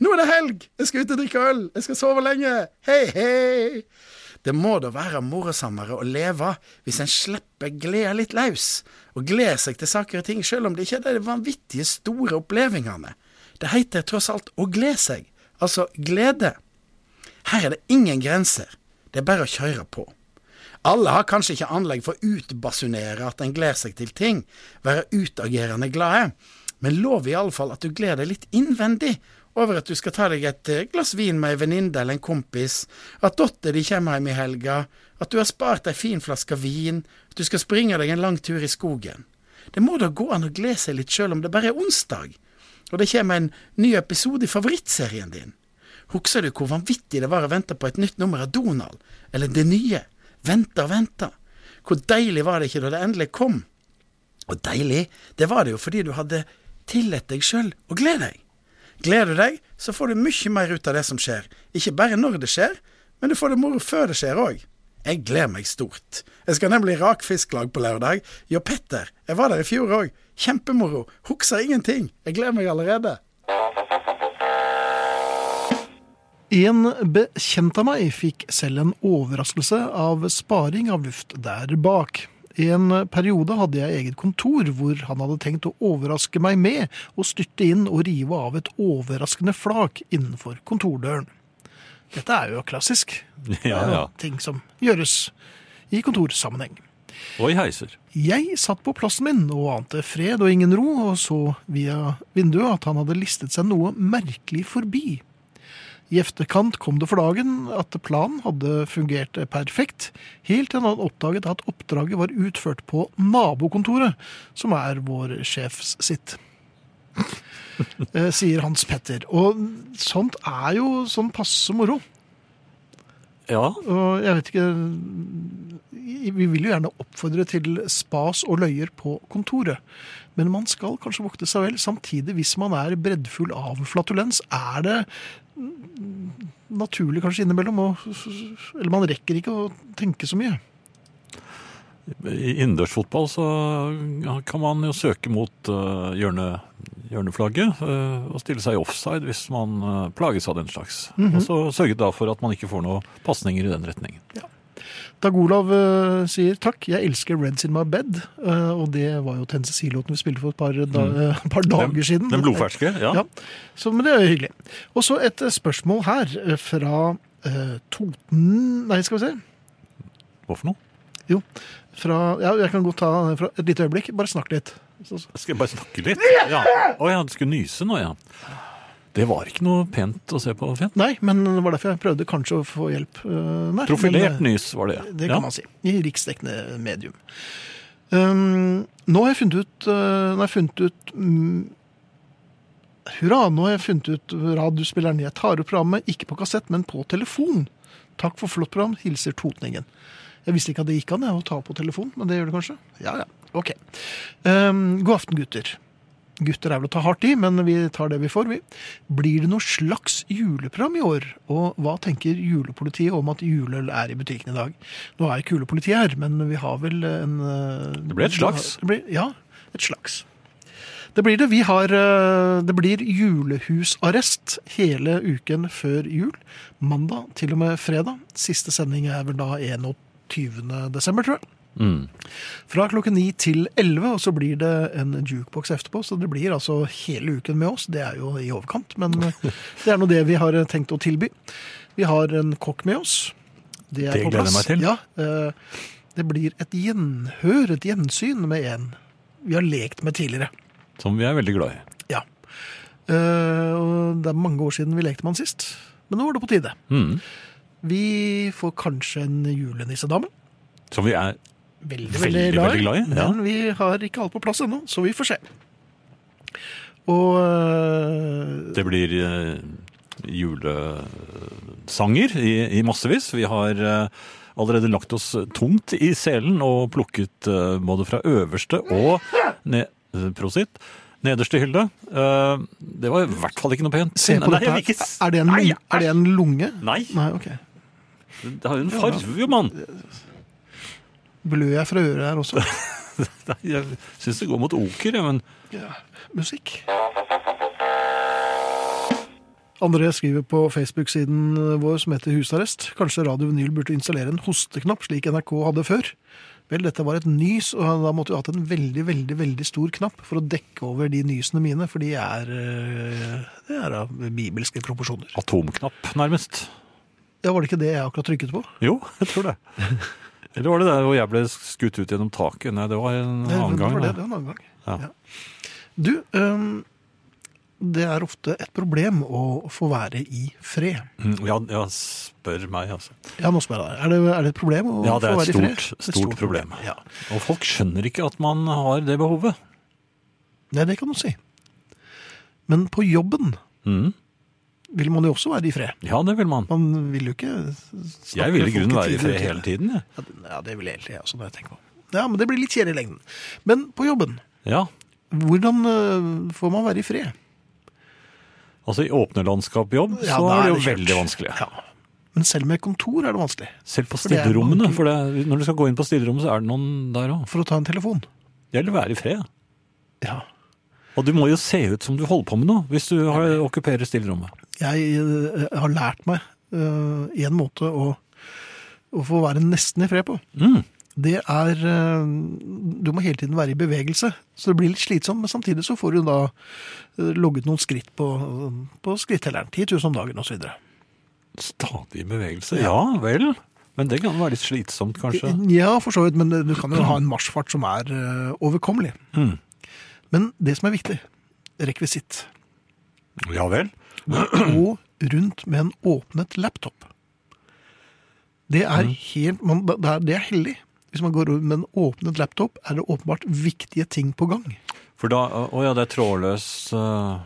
[SPEAKER 4] Nå er det helg! Jeg skal ut og drikke øl! Jeg skal sove lenge! Hei, hei! Det må da være morosammere å leve hvis en slipper gleda litt løs, og gleder seg til saker og ting selv om det ikke er de vanvittige store opplevelsene. Det heter tross alt å glede seg, altså glede. Her er det ingen grenser, det er bare å kjøre på. Alle har kanskje ikke anlegg for å utbasunere at en gleder seg til ting, være utagerende glade, men lov iallfall at du gleder deg litt innvendig over at du skal ta deg et eh, glass vin med ei venninne eller en kompis, at datter di kommer hjem i helga, at du har spart ei fin flaske vin, at du skal springe deg en lang tur i skogen. Det må da gå an å glede seg litt sjøl om det bare er onsdag, og det kommer en ny episode i favorittserien din. Husker du hvor vanvittig det var å vente på et nytt nummer av Donald, eller det nye? Vente og vente. Hvor deilig var det ikke da det endelig kom? Og deilig, det var det jo fordi du hadde tillatt deg sjøl å glede deg. Gleder du deg, så får du mye mer ut av det som skjer. Ikke bare når det skjer, men du får det moro før det skjer òg. Jeg gleder meg stort. Jeg skal nemlig i rakfisklag på lørdag. Jo, Petter, jeg var der i fjor òg. Kjempemoro. Husker ingenting. Jeg gleder meg allerede.
[SPEAKER 2] En bekjent av meg fikk selv en overraskelse av sparing av luft der bak. I en periode hadde jeg eget kontor hvor han hadde tenkt å overraske meg med å styrte inn og rive av et overraskende flak innenfor kontordøren. Dette er jo klassisk.
[SPEAKER 3] Ja,
[SPEAKER 2] Det er jo
[SPEAKER 3] ja.
[SPEAKER 2] Ting som gjøres i kontorsammenheng.
[SPEAKER 3] Og i heiser.
[SPEAKER 2] Jeg satt på plassen min og ante fred og ingen ro, og så via vinduet at han hadde listet seg noe merkelig forbi. I efterkant kom det for dagen at planen hadde fungert perfekt, helt til han oppdaget at oppdraget var utført på nabokontoret, som er vår sjefs sitt. <laughs> Eh, Sier Hans Petter. Og sånt er jo sånn passe moro.
[SPEAKER 3] Ja.
[SPEAKER 2] Og jeg vet ikke Vi vil jo gjerne oppfordre til spas og løyer på kontoret. Men man skal kanskje vokte seg vel. Samtidig, hvis man er breddfull av flatulens, er det mm, naturlig kanskje innimellom å Eller man rekker ikke å tenke så mye.
[SPEAKER 3] I innendørsfotball så kan man jo søke mot eh, hjørne, hjørneflagget eh, og stille seg i offside hvis man eh, plages av den slags.
[SPEAKER 2] Mhm.
[SPEAKER 3] Og så sørge da for at man ikke får noen pasninger i den retningen.
[SPEAKER 2] Dag Olav eh, sier takk, jeg elsker Reds In My Bed. eh, og det var jo Tense Siloten vi spilte for et par, da, eh, <laughs> par dager siden.
[SPEAKER 3] Mm. Den blodferske, ja.
[SPEAKER 2] Ja, så, men det er jo hyggelig. Og så et eh, spørsmål her eh, fra eh, Toten Nei, skal vi se.
[SPEAKER 3] Hva for noe?
[SPEAKER 2] Jo, fra, ja, jeg kan godt ta den fra et lite øyeblikk. Bare snakk litt. Så, så.
[SPEAKER 3] Skal jeg bare snakke litt? Ja. Å ja, du skulle nyse nå, ja. Det var ikke noe pent å se på, Finn.
[SPEAKER 2] Nei, men det var derfor jeg prøvde kanskje å få hjelp. eh, der,
[SPEAKER 3] Profilert
[SPEAKER 2] men, eh,
[SPEAKER 3] nys var det.
[SPEAKER 2] Det
[SPEAKER 3] ja.
[SPEAKER 2] kan man si. I riksdekkende medium. Um, nå har jeg funnet ut eh, Nå har jeg funnet ut mm, Hurra, nå har jeg funnet ut radiospilleren. Jeg tar opp programmet, ikke på kassett, men på telefon. Takk for flott program. Hilser Totningen. Jeg visste ikke at det gikk an jeg, å ta på telefon, men det gjør det kanskje? Ja, ja. Ok. Um, god aften, gutter. Gutter er vel å ta hardt i, men vi tar det vi får, vi. Blir det noe slags juleprogram i år? Og hva tenker julepolitiet om at juleøl er i butikken i dag? Nå er ikke julepolitiet her, men vi har vel en eh,
[SPEAKER 3] Det blir et slags.
[SPEAKER 2] Det blir, ja, et slags. Det blir det. Vi har eh, Det blir julehusarrest hele uken før jul. Mandag til og med fredag. Siste sending er vel da 21. desember, tror jeg.
[SPEAKER 3] Mm.
[SPEAKER 2] Fra klokken 9 til 11, og så blir det en jukebox etterpå. Så det blir altså hele uken med oss. Det er jo i overkant, men
[SPEAKER 3] <laughs>
[SPEAKER 2] det er nå det vi har tenkt å tilby. Vi har en kokk med oss. Det, på
[SPEAKER 3] Det gleder jeg
[SPEAKER 2] plass.
[SPEAKER 3] meg til.
[SPEAKER 2] Ja, eh, det blir et gjenhør, et gjensyn med en vi har lekt med tidligere.
[SPEAKER 3] Som vi er veldig glad i.
[SPEAKER 2] Ja. Eh, og det er mange år siden vi lekte med han sist, men nå var det på tide.
[SPEAKER 3] Mm.
[SPEAKER 2] Vi får kanskje en julenissedame.
[SPEAKER 3] Som vi er
[SPEAKER 2] veldig, veldig,
[SPEAKER 3] Veldig,
[SPEAKER 2] glad, i.
[SPEAKER 3] veldig glad i, ja.
[SPEAKER 2] Men vi har ikke alt på plass ennå, så vi får se. Og øh,
[SPEAKER 3] Det blir eh, julesanger i, i massevis. Vi har eh, allerede lagt oss tungt i selen og plukket eh, både fra øverste og ned, eh, prosit, Nederste hylle. eh, det var i hvert fall ikke noe pent.
[SPEAKER 2] Se på
[SPEAKER 3] Nei,
[SPEAKER 2] dette
[SPEAKER 3] jeg vil ikke
[SPEAKER 2] her.
[SPEAKER 3] s-
[SPEAKER 2] Er det en,
[SPEAKER 3] Nei,
[SPEAKER 2] lung- er det en lunge?
[SPEAKER 3] Nei,
[SPEAKER 2] Nei, ok.
[SPEAKER 3] det har jo en farve, jo, mann!
[SPEAKER 2] Blør jeg fra øret her også?
[SPEAKER 3] Nei, Jeg syns det går mot oker, jeg, men
[SPEAKER 2] Ja, musikk. André skriver på Facebook-siden vår som heter Husarrest. Kanskje Radio Vinyl burde installere en hosteknapp, slik NRK hadde før. Vel, dette var et nys, og da måtte vi hatt en veldig, veldig veldig stor knapp for å dekke over de nysene mine, for de er, eh, det er av bibelske proporsjoner.
[SPEAKER 3] atomknapp, nærmest.
[SPEAKER 2] Ja, Var det ikke det jeg akkurat trykket på?
[SPEAKER 3] Jo, <laughs> jeg tror det. Eller var det der hvor jeg ble skutt ut gjennom taket? Nei, det var en
[SPEAKER 2] Det-
[SPEAKER 3] annen
[SPEAKER 2] det
[SPEAKER 3] gang.
[SPEAKER 2] var det,
[SPEAKER 3] det.
[SPEAKER 2] det var en annen gang.
[SPEAKER 3] Ja.
[SPEAKER 2] Ja. Du, øhm, det er ofte et problem å få være i fred.
[SPEAKER 3] Mm, Ja, ja, spør meg, altså.
[SPEAKER 2] Ja, nå spør jeg deg. Er det, er det et problem å
[SPEAKER 3] Ja, det
[SPEAKER 2] få
[SPEAKER 3] er
[SPEAKER 2] være
[SPEAKER 3] et
[SPEAKER 2] i fred?
[SPEAKER 3] stort, stort problem.
[SPEAKER 2] Ja.
[SPEAKER 3] Og folk skjønner ikke at man har det behovet.
[SPEAKER 2] Nei, det kan du si. Men på jobben
[SPEAKER 3] Mm.
[SPEAKER 2] vil man jo også være i fred.
[SPEAKER 3] Ja, det vil man.
[SPEAKER 2] Man vil jo ikke snakke
[SPEAKER 3] Jeg vil
[SPEAKER 2] med
[SPEAKER 3] i grunnen
[SPEAKER 2] folk
[SPEAKER 3] være i
[SPEAKER 2] tide
[SPEAKER 3] fred
[SPEAKER 2] og utide.
[SPEAKER 3] hele tiden, jeg.
[SPEAKER 2] Ja, det- Ja, det vil jeg egentlig også, når jeg tenker på det. Ja, men det blir litt kjedelig i lengden. Men på jobben,
[SPEAKER 3] Ja.
[SPEAKER 2] hvordan øh, får man være i fred?
[SPEAKER 3] Altså, i åpne landskap jobb,
[SPEAKER 2] Ja,
[SPEAKER 3] så
[SPEAKER 2] da
[SPEAKER 3] er det jo
[SPEAKER 2] kjørt.
[SPEAKER 3] veldig vanskelig.
[SPEAKER 2] Ja. Men selv med kontor er det vanskelig.
[SPEAKER 3] Selv på
[SPEAKER 2] For det er
[SPEAKER 3] stillerommene.
[SPEAKER 2] mange-
[SPEAKER 3] For det, når du skal gå inn på stillerommet, så er det noen der òg.
[SPEAKER 2] For å ta en telefon.
[SPEAKER 3] Det gjelder å være i fred.
[SPEAKER 2] Ja.
[SPEAKER 3] Og du må jo se ut som du holder på med noe, hvis du har, okkuperer stillerommet.
[SPEAKER 2] Jeg eh, har lært meg én måte å, å få være nesten i fred på.
[SPEAKER 3] Mm.
[SPEAKER 2] Det er eh, Du må hele tiden være i bevegelse, så det blir litt slitsomt. Men samtidig så får du da eh, logget noen skritt på, på skrittelleren. 10 000 om dagen osv.
[SPEAKER 3] Stadig i bevegelse. Ja vel. Men det kan være litt slitsomt, kanskje.
[SPEAKER 2] Ja, for så vidt. Men du kan jo ha en marsjfart som er eh, overkommelig.
[SPEAKER 3] Mm.
[SPEAKER 2] Men det som er viktig, rekvisitt.
[SPEAKER 3] Ja vel.
[SPEAKER 2] og rundt med en åpnet laptop. Det er
[SPEAKER 3] Mm.
[SPEAKER 2] helt man, det, er, det er heldig. Hvis man går rundt med en åpnet laptop, er det åpenbart viktige ting på gang.
[SPEAKER 3] For da Å ja, det er trådløs eh,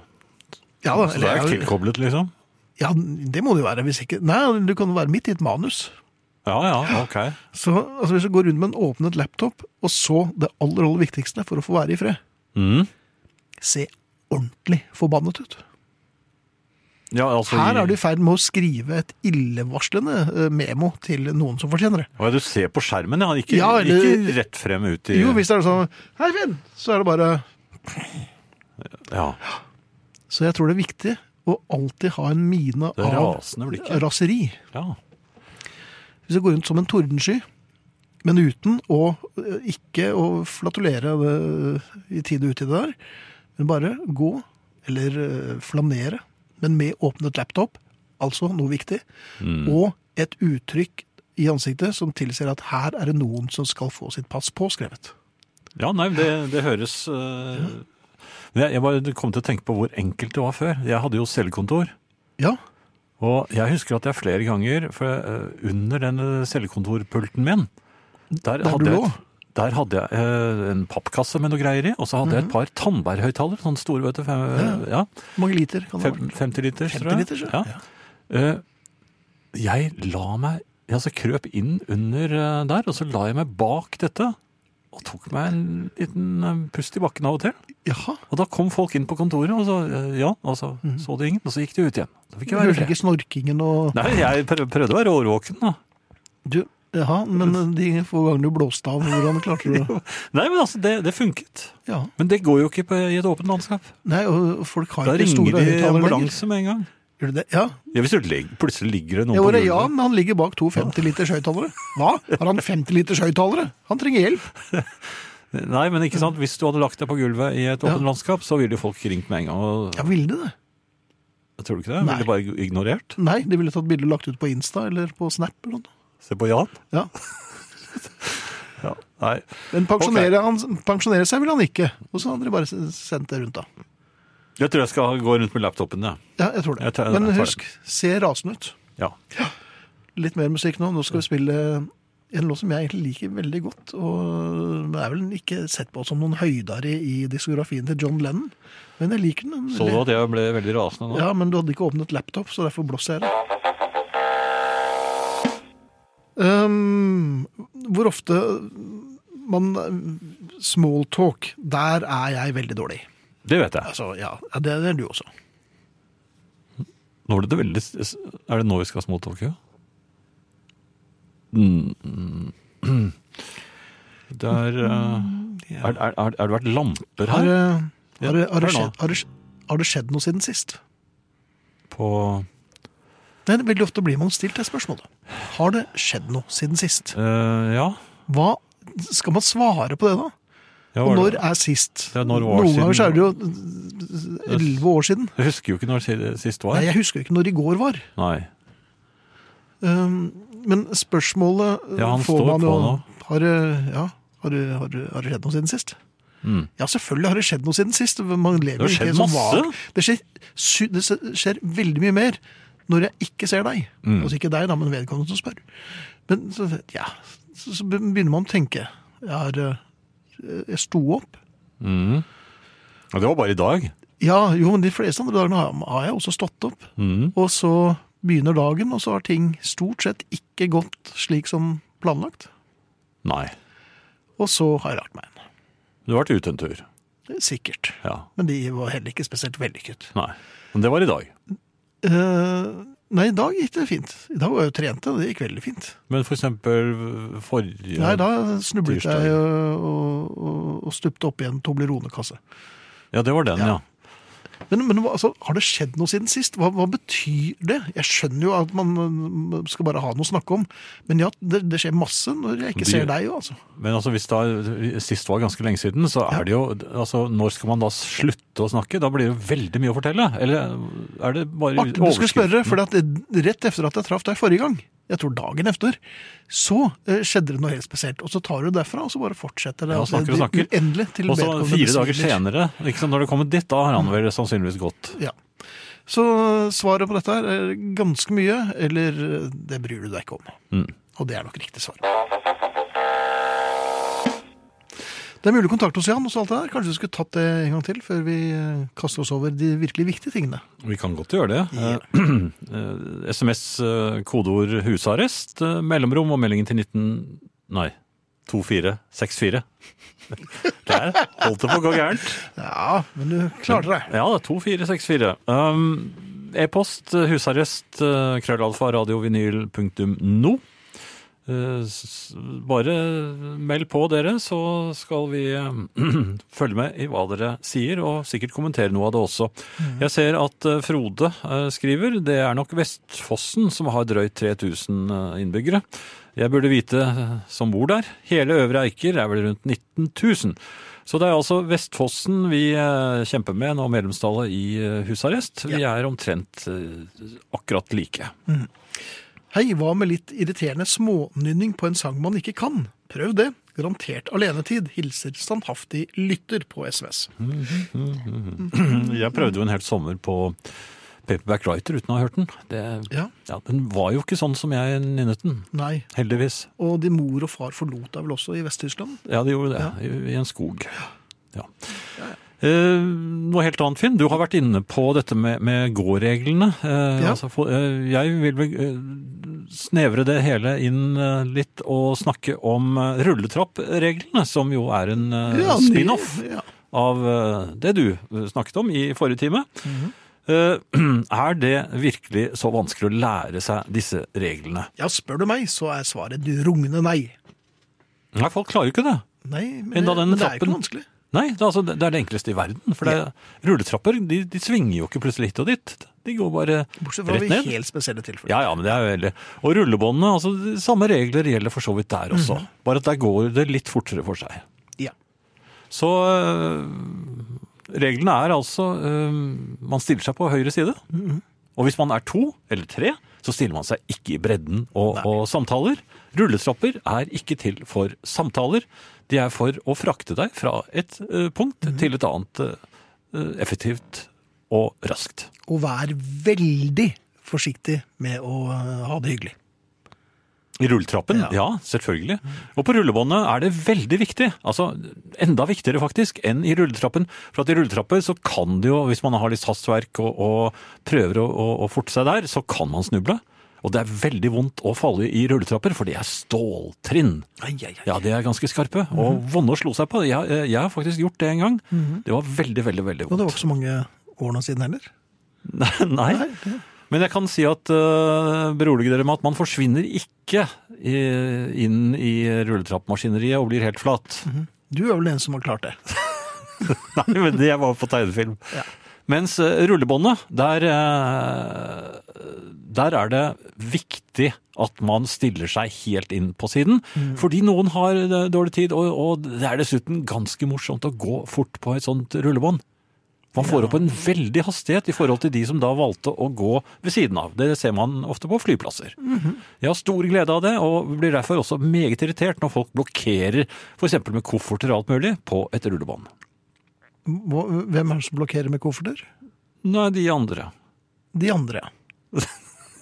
[SPEAKER 2] Ja,
[SPEAKER 3] Så det er tilkoblet, liksom?
[SPEAKER 2] ja, det må det jo være. Hvis ikke Nei, du kan jo være midt i et manus.
[SPEAKER 3] Ja ja, ok.
[SPEAKER 2] Så altså, hvis du går rundt med en åpnet laptop, og så det aller, aller viktigste for å få være i fred
[SPEAKER 3] Mm.
[SPEAKER 2] Se ordentlig forbannet ut.
[SPEAKER 3] Ja, altså,
[SPEAKER 2] Her
[SPEAKER 3] i-
[SPEAKER 2] er du i ferd med å skrive et illevarslende eh, memo til noen som fortjener det.
[SPEAKER 3] Ja, du ser på skjermen, ja. Ikke,
[SPEAKER 2] Ja, eller-
[SPEAKER 3] ikke rett frem ut i
[SPEAKER 2] Jo, hvis det er sånn Hei, Finn! Så er det bare
[SPEAKER 3] Ja,
[SPEAKER 2] Så jeg tror det er viktig å alltid ha en mine
[SPEAKER 3] det
[SPEAKER 2] av
[SPEAKER 3] rasende blikket.
[SPEAKER 2] raseri.
[SPEAKER 3] Ja.
[SPEAKER 2] Hvis jeg går rundt som en tordensky, men uten å eh, ikke å flatulere eh, i tide og utide der, men bare gå eller eh, flanere, men med åpnet laptop, altså noe viktig,
[SPEAKER 3] Mm.
[SPEAKER 2] og et uttrykk i ansiktet som tilsier at her er det noen som skal få sitt pass påskrevet.
[SPEAKER 3] ja, nei, det, det høres eh, Men jeg, jeg bare kom til å tenke på hvor enkelt det var før. Jeg hadde jo cellekontor.
[SPEAKER 2] Ja,
[SPEAKER 3] Og jeg husker at jeg flere ganger, for eh, under den cellekontorpulten min Der,
[SPEAKER 2] der du
[SPEAKER 3] jeg,
[SPEAKER 2] lå.
[SPEAKER 3] et- der hadde jeg eh, en pappkasse med noe greier i, og så hadde jeg et par tannbærhøyttalere. Sånne store, vet du. Fem, eh, ja.
[SPEAKER 2] Hvor mange liter kan Mhm. det
[SPEAKER 3] Fem,
[SPEAKER 2] være?
[SPEAKER 3] 50 liter,
[SPEAKER 2] 50 liter, så?
[SPEAKER 3] Ja. Eh, jeg la meg Jeg altså krøp inn under eh, der, og så la jeg meg bak dette. Og tok meg en liten eh, pust i bakken av og til.
[SPEAKER 2] Jaha,
[SPEAKER 3] Og da kom folk inn på kontoret, og så, eh, ja, og så så de ingen. Og så gikk de ut igjen. Da
[SPEAKER 2] Mhm.
[SPEAKER 3] fikk
[SPEAKER 2] du
[SPEAKER 3] jeg være
[SPEAKER 2] hørte
[SPEAKER 3] fred.
[SPEAKER 2] ikke snorkingen og...
[SPEAKER 3] Nei, jeg prøv- prøvde å være årvåken, da.
[SPEAKER 2] Du, ja, men de få gangene du blåste av, hvordan klarte du
[SPEAKER 3] <laughs>
[SPEAKER 2] det?
[SPEAKER 3] Nei, men altså, det, det funket.
[SPEAKER 2] Ja.
[SPEAKER 3] Men det går jo ikke på, i et åpent landskap.
[SPEAKER 2] Nei, og folk har
[SPEAKER 3] Da
[SPEAKER 2] ikke
[SPEAKER 3] ringer
[SPEAKER 2] store
[SPEAKER 3] de
[SPEAKER 2] høyttalere lenger.
[SPEAKER 3] ambulanse med en gang.
[SPEAKER 2] Gjør du det? Ja.
[SPEAKER 3] Ja, Hvis du legger, plutselig ligger det noen
[SPEAKER 2] Jeg var
[SPEAKER 3] på
[SPEAKER 2] det
[SPEAKER 3] gulvet.
[SPEAKER 2] Jan, han ligger bak to 50 liters høyttalere. Hva? Har han 50 liters høyttalere? Han trenger hjelp.
[SPEAKER 3] Nei, men ikke sant, hvis du hadde lagt deg på gulvet i et åpent
[SPEAKER 2] Ja.
[SPEAKER 3] landskap, så ville jo folk ringt med en gang. Og,
[SPEAKER 2] Ja, ville de det?
[SPEAKER 3] Tror du ikke det?
[SPEAKER 2] Nei.
[SPEAKER 3] Ville bare ignorert?
[SPEAKER 2] Nei, de ville tatt bilde og lagt ut på Insta eller på Snap eller noe.
[SPEAKER 3] Se på Jan?
[SPEAKER 2] Ja.
[SPEAKER 3] Ja. Nei.
[SPEAKER 2] Men pensjonere, han, pensjonere seg ville han ikke. Og så hadde de bare s- sendt det rundt da.
[SPEAKER 3] Jeg tror jeg skal gå rundt med laptopen, jeg.
[SPEAKER 2] Ja, jeg tror det.
[SPEAKER 3] Jeg tar- jeg
[SPEAKER 2] Men
[SPEAKER 3] tar det.
[SPEAKER 2] husk, se rasen ut.
[SPEAKER 3] Ja.
[SPEAKER 2] Litt mer musikk nå. Nå skal vi spille en låt som jeg egentlig liker veldig godt. Og det er vel ikke sett på som noen høydere i diskografien til John Lennon. Men jeg liker den.
[SPEAKER 3] Så du at jeg ble veldig rasende nå?
[SPEAKER 2] Ja, men du hadde ikke åpnet laptop, så derfor blåser jeg det. Um, hvor ofte man smalltalk, der er jeg veldig dårlig.
[SPEAKER 3] Det vet jeg.
[SPEAKER 2] Altså, ja, ja, det er du også.
[SPEAKER 3] Nå ble det veldig Er det nå vi skal småtalke? Mm. Det er, eh, er, er, er, er det vært lamper
[SPEAKER 2] Har,
[SPEAKER 3] her
[SPEAKER 2] eh, har, det- har, det
[SPEAKER 3] Hør nå.
[SPEAKER 2] skjedd- har, det skj- har det skjedd noe siden sist?
[SPEAKER 3] på
[SPEAKER 2] Nei, det Veldig ofte blir man stilt det spørsmålet. Har det skjedd noe siden sist?
[SPEAKER 3] eh, Ja.
[SPEAKER 2] Hva Skal man svare på det, da?
[SPEAKER 3] ja
[SPEAKER 2] Og
[SPEAKER 3] var
[SPEAKER 2] når
[SPEAKER 3] det-
[SPEAKER 2] er sist?
[SPEAKER 3] Ja, når var
[SPEAKER 2] Noen ganger så
[SPEAKER 3] siden?
[SPEAKER 2] er det jo elleve år siden.
[SPEAKER 3] Jeg husker jo ikke når det sist var.
[SPEAKER 2] Nei, jeg husker jo ikke når i går var.
[SPEAKER 3] Nei.
[SPEAKER 2] Um, Men spørsmålet uh,
[SPEAKER 3] Ja, han
[SPEAKER 2] får
[SPEAKER 3] står
[SPEAKER 2] man
[SPEAKER 3] på
[SPEAKER 2] jo
[SPEAKER 3] nå.
[SPEAKER 2] har, uh, ja, har, uh, har, uh, har det skjedd noe siden sist? Ja, selvfølgelig har det skjedd noe siden sist. Man lever
[SPEAKER 3] Mm. Det har
[SPEAKER 2] ikke
[SPEAKER 3] skjedd
[SPEAKER 2] som
[SPEAKER 3] masse.
[SPEAKER 2] var. Det skjer, sy- det s- skjer veldig mye mer når jeg ikke ser deg.
[SPEAKER 3] Mm.
[SPEAKER 2] Altså ikke deg, da, men vedkommende som spør. Men så, ja, så, så begynner man å tenke. Jeg, har, uh, jeg sto opp.
[SPEAKER 3] Ja, Det var bare i dag.
[SPEAKER 2] Ja, jo, men de fleste andre dagene har, har jeg også stått opp.
[SPEAKER 3] Mm.
[SPEAKER 2] Og så begynner dagen, og så har ting stort sett ikke gått slik som planlagt.
[SPEAKER 3] Nei.
[SPEAKER 2] Og så har jeg lagt meg igjen.
[SPEAKER 3] Du har vært ute en tur.
[SPEAKER 2] Sikkert.
[SPEAKER 3] Ja.
[SPEAKER 2] Men de var heller ikke spesielt vellykket.
[SPEAKER 3] Nei. Men det var i dag.
[SPEAKER 2] Eh, nei, i dag gikk det fint. I dag var jeg jo trente, og det gikk veldig fint.
[SPEAKER 3] Men for eksempel øh, forrige
[SPEAKER 2] Nei, da snublet
[SPEAKER 3] tirsdag.
[SPEAKER 2] jeg og, og, og stupte opp i en Toblerone-kasse.
[SPEAKER 3] Ja, det var den, ja.
[SPEAKER 2] Men, men hva- altså, har det skjedd noe siden sist? Hva, hva betyr det? Jeg skjønner jo at man mm, skal bare ha noe å snakke om, men ja, det, det skjer masse når jeg ikke
[SPEAKER 3] Det-
[SPEAKER 2] ser deg. jo, Altså.
[SPEAKER 3] Men altså, hvis da sist var ganske lenge siden, så er det jo altså, Når skal man da slutte å snakke? Da blir det veldig mye å fortelle. Eller er det bare
[SPEAKER 2] Artig du skulle
[SPEAKER 3] overskriften?
[SPEAKER 2] spørre, for at det- rett etter at jeg traff deg forrige gang, jeg tror dagen efter, så eh, skjedde det noe helt spesielt. Og så tar du det derfra, og så bare fortsetter det.
[SPEAKER 3] Ja,
[SPEAKER 2] Altså,
[SPEAKER 3] snakker og
[SPEAKER 2] det-
[SPEAKER 3] snakker.
[SPEAKER 2] Uendelig til
[SPEAKER 3] Og så
[SPEAKER 2] vedkommende
[SPEAKER 3] fire dager
[SPEAKER 2] besvimer.
[SPEAKER 3] senere, ikke sant, når det kommer dit, da har han vel sannsynligvis gått.
[SPEAKER 2] Ja. Så svaret på dette her er ganske mye, eller eh, det bryr du deg ikke om.
[SPEAKER 3] Mm.
[SPEAKER 2] Og det er nok riktig svar. Det er mulig å kontakte oss igjen, og så alt det der. Kanskje vi skulle tatt det en gang til før vi eh, kaster oss over de virkelig viktige tingene.
[SPEAKER 3] Vi kan godt gjøre det.
[SPEAKER 2] Ja.
[SPEAKER 3] Eh, <clears throat> SMS, eh, kodeord husarrest, eh, mellomrom og meldingen til 19... Nei. <laughs> 2464. Der holdt det på å gå gærent.
[SPEAKER 2] Ja, men du klarte deg.
[SPEAKER 3] Ja, 2464. Um, E-post eh, husarrest eh, krøllalfa radiovinyl.no. Eh, s- s- Bare meld på dere, så skal vi eh, <clears throat> følge med i hva dere sier, og sikkert kommentere noe av det også. Jeg ser at eh, Frode eh, skriver det er nok Vestfossen som har drøyt 3000 innbyggere. Jeg burde vite eh, som bor der. Hele Øvre Eiker er vel rundt 19 000. Så det er altså Vestfossen vi eh, kjemper med nå, medlemstallet i eh, husarrest. Vi er omtrent eh, akkurat like.
[SPEAKER 2] Hei, hva med litt irriterende smånynning på en sang man ikke kan? Prøv det. Garantert alenetid. Hilser standhaftig lytter på SMS.
[SPEAKER 3] Mhm. Jeg prøvde jo en hel sommer på Paperback Writer uten å ha hørt den. Det,
[SPEAKER 2] Ja,
[SPEAKER 3] ja, den var jo ikke sånn som jeg nynnet den.
[SPEAKER 2] nei.
[SPEAKER 3] Heldigvis.
[SPEAKER 2] Og de mor og far forlot deg vel også i Vest-Tyskland?
[SPEAKER 3] Ja, det gjorde det. I, I en skog. Ja. Eh, noe helt annet, Finn. Du har vært inne på dette med, med gåreglene. Eh,
[SPEAKER 2] Ja.
[SPEAKER 3] altså, for, eh, jeg vil vel eh, snevre det hele inn eh, litt og snakke om eh, rulletrappreglene, som jo er en eh,
[SPEAKER 2] Ja, de-
[SPEAKER 3] spin-off
[SPEAKER 2] Ja.
[SPEAKER 3] av eh, det du eh, snakket om i forrige time. Eh, <clears throat> er det virkelig så vanskelig å lære seg disse reglene?
[SPEAKER 2] ja, spør du meg, så er svaret et rungende nei.
[SPEAKER 3] Nei, folk klarer jo ikke det.
[SPEAKER 2] Nei, men,
[SPEAKER 3] Enda
[SPEAKER 2] det-
[SPEAKER 3] den
[SPEAKER 2] men det er ikke
[SPEAKER 3] etappen.
[SPEAKER 2] noe vanskelig.
[SPEAKER 3] Nei, det er, altså, det er det enkleste i verden. For det, rulletrapper de, de svinger jo ikke plutselig hit og dit. De går bare
[SPEAKER 2] Bortsett fra
[SPEAKER 3] rett
[SPEAKER 2] ved
[SPEAKER 3] ned.
[SPEAKER 2] helt spesielle tilfeller.
[SPEAKER 3] Ja, ja, men det er jo veldig. Og rullebåndene, altså de samme regler gjelder for så vidt der også. Bare at der går det litt fortere for seg.
[SPEAKER 2] Ja.
[SPEAKER 3] Så øh, reglene er altså øh, Man stiller seg på høyre side. Og hvis man er to eller tre, så stiller man seg ikke i bredden og, og samtaler. Rulletrapper er ikke til for samtaler. De er for å frakte deg fra et øh, punkt til et annet øh, effektivt og raskt.
[SPEAKER 2] Og vær veldig forsiktig med å eh, ha det hyggelig.
[SPEAKER 3] I rulletrappen,
[SPEAKER 2] Ja.
[SPEAKER 3] ja. selvfølgelig. Og på rullebåndet er det veldig viktig. Altså, Enda viktigere faktisk enn i rulletrappen. For at i rulletrapper så kan det jo, hvis man har litt hastverk og, og prøver å, å, å forte seg der, så kan man snuble. Og det er veldig vondt å falle i rulletrapper, for det er ståltrinn. Ja, de er ganske skarpe, og vonde å slå seg på. Jeg, jeg har faktisk gjort det en gang. Det var veldig, veldig, veldig
[SPEAKER 2] Og det var
[SPEAKER 3] vondt.
[SPEAKER 2] ikke så mange årene siden heller.
[SPEAKER 3] <laughs> Nei, Nei. Men jeg kan si at uh, berolige dere med at man forsvinner ikke i, inn i rulletrappmaskineriet og blir helt flat.
[SPEAKER 2] Du er vel den som har klart det.
[SPEAKER 3] <laughs> Nei, men det var på tegnefilm.
[SPEAKER 2] Ja.
[SPEAKER 3] Mens eh, rullebåndet, der, eh, der er det viktig at man stiller seg helt inn på siden. Fordi noen har eh, dårlig tid, og, og det er dessuten ganske morsomt å gå fort på et sånt rullebånd. Man får opp en veldig hastighet i forhold til de som da valgte å gå ved siden av. Det ser man ofte på flyplasser. Jeg har stor glede av det, og blir derfor også meget irritert når folk blokkerer f.eks. med kofferter og alt mulig på et rullebånd.
[SPEAKER 2] Hva- Hvem er det som blokkerer med kofferter?
[SPEAKER 3] Nei, de andre.
[SPEAKER 2] De andre, ja.
[SPEAKER 3] <laughs>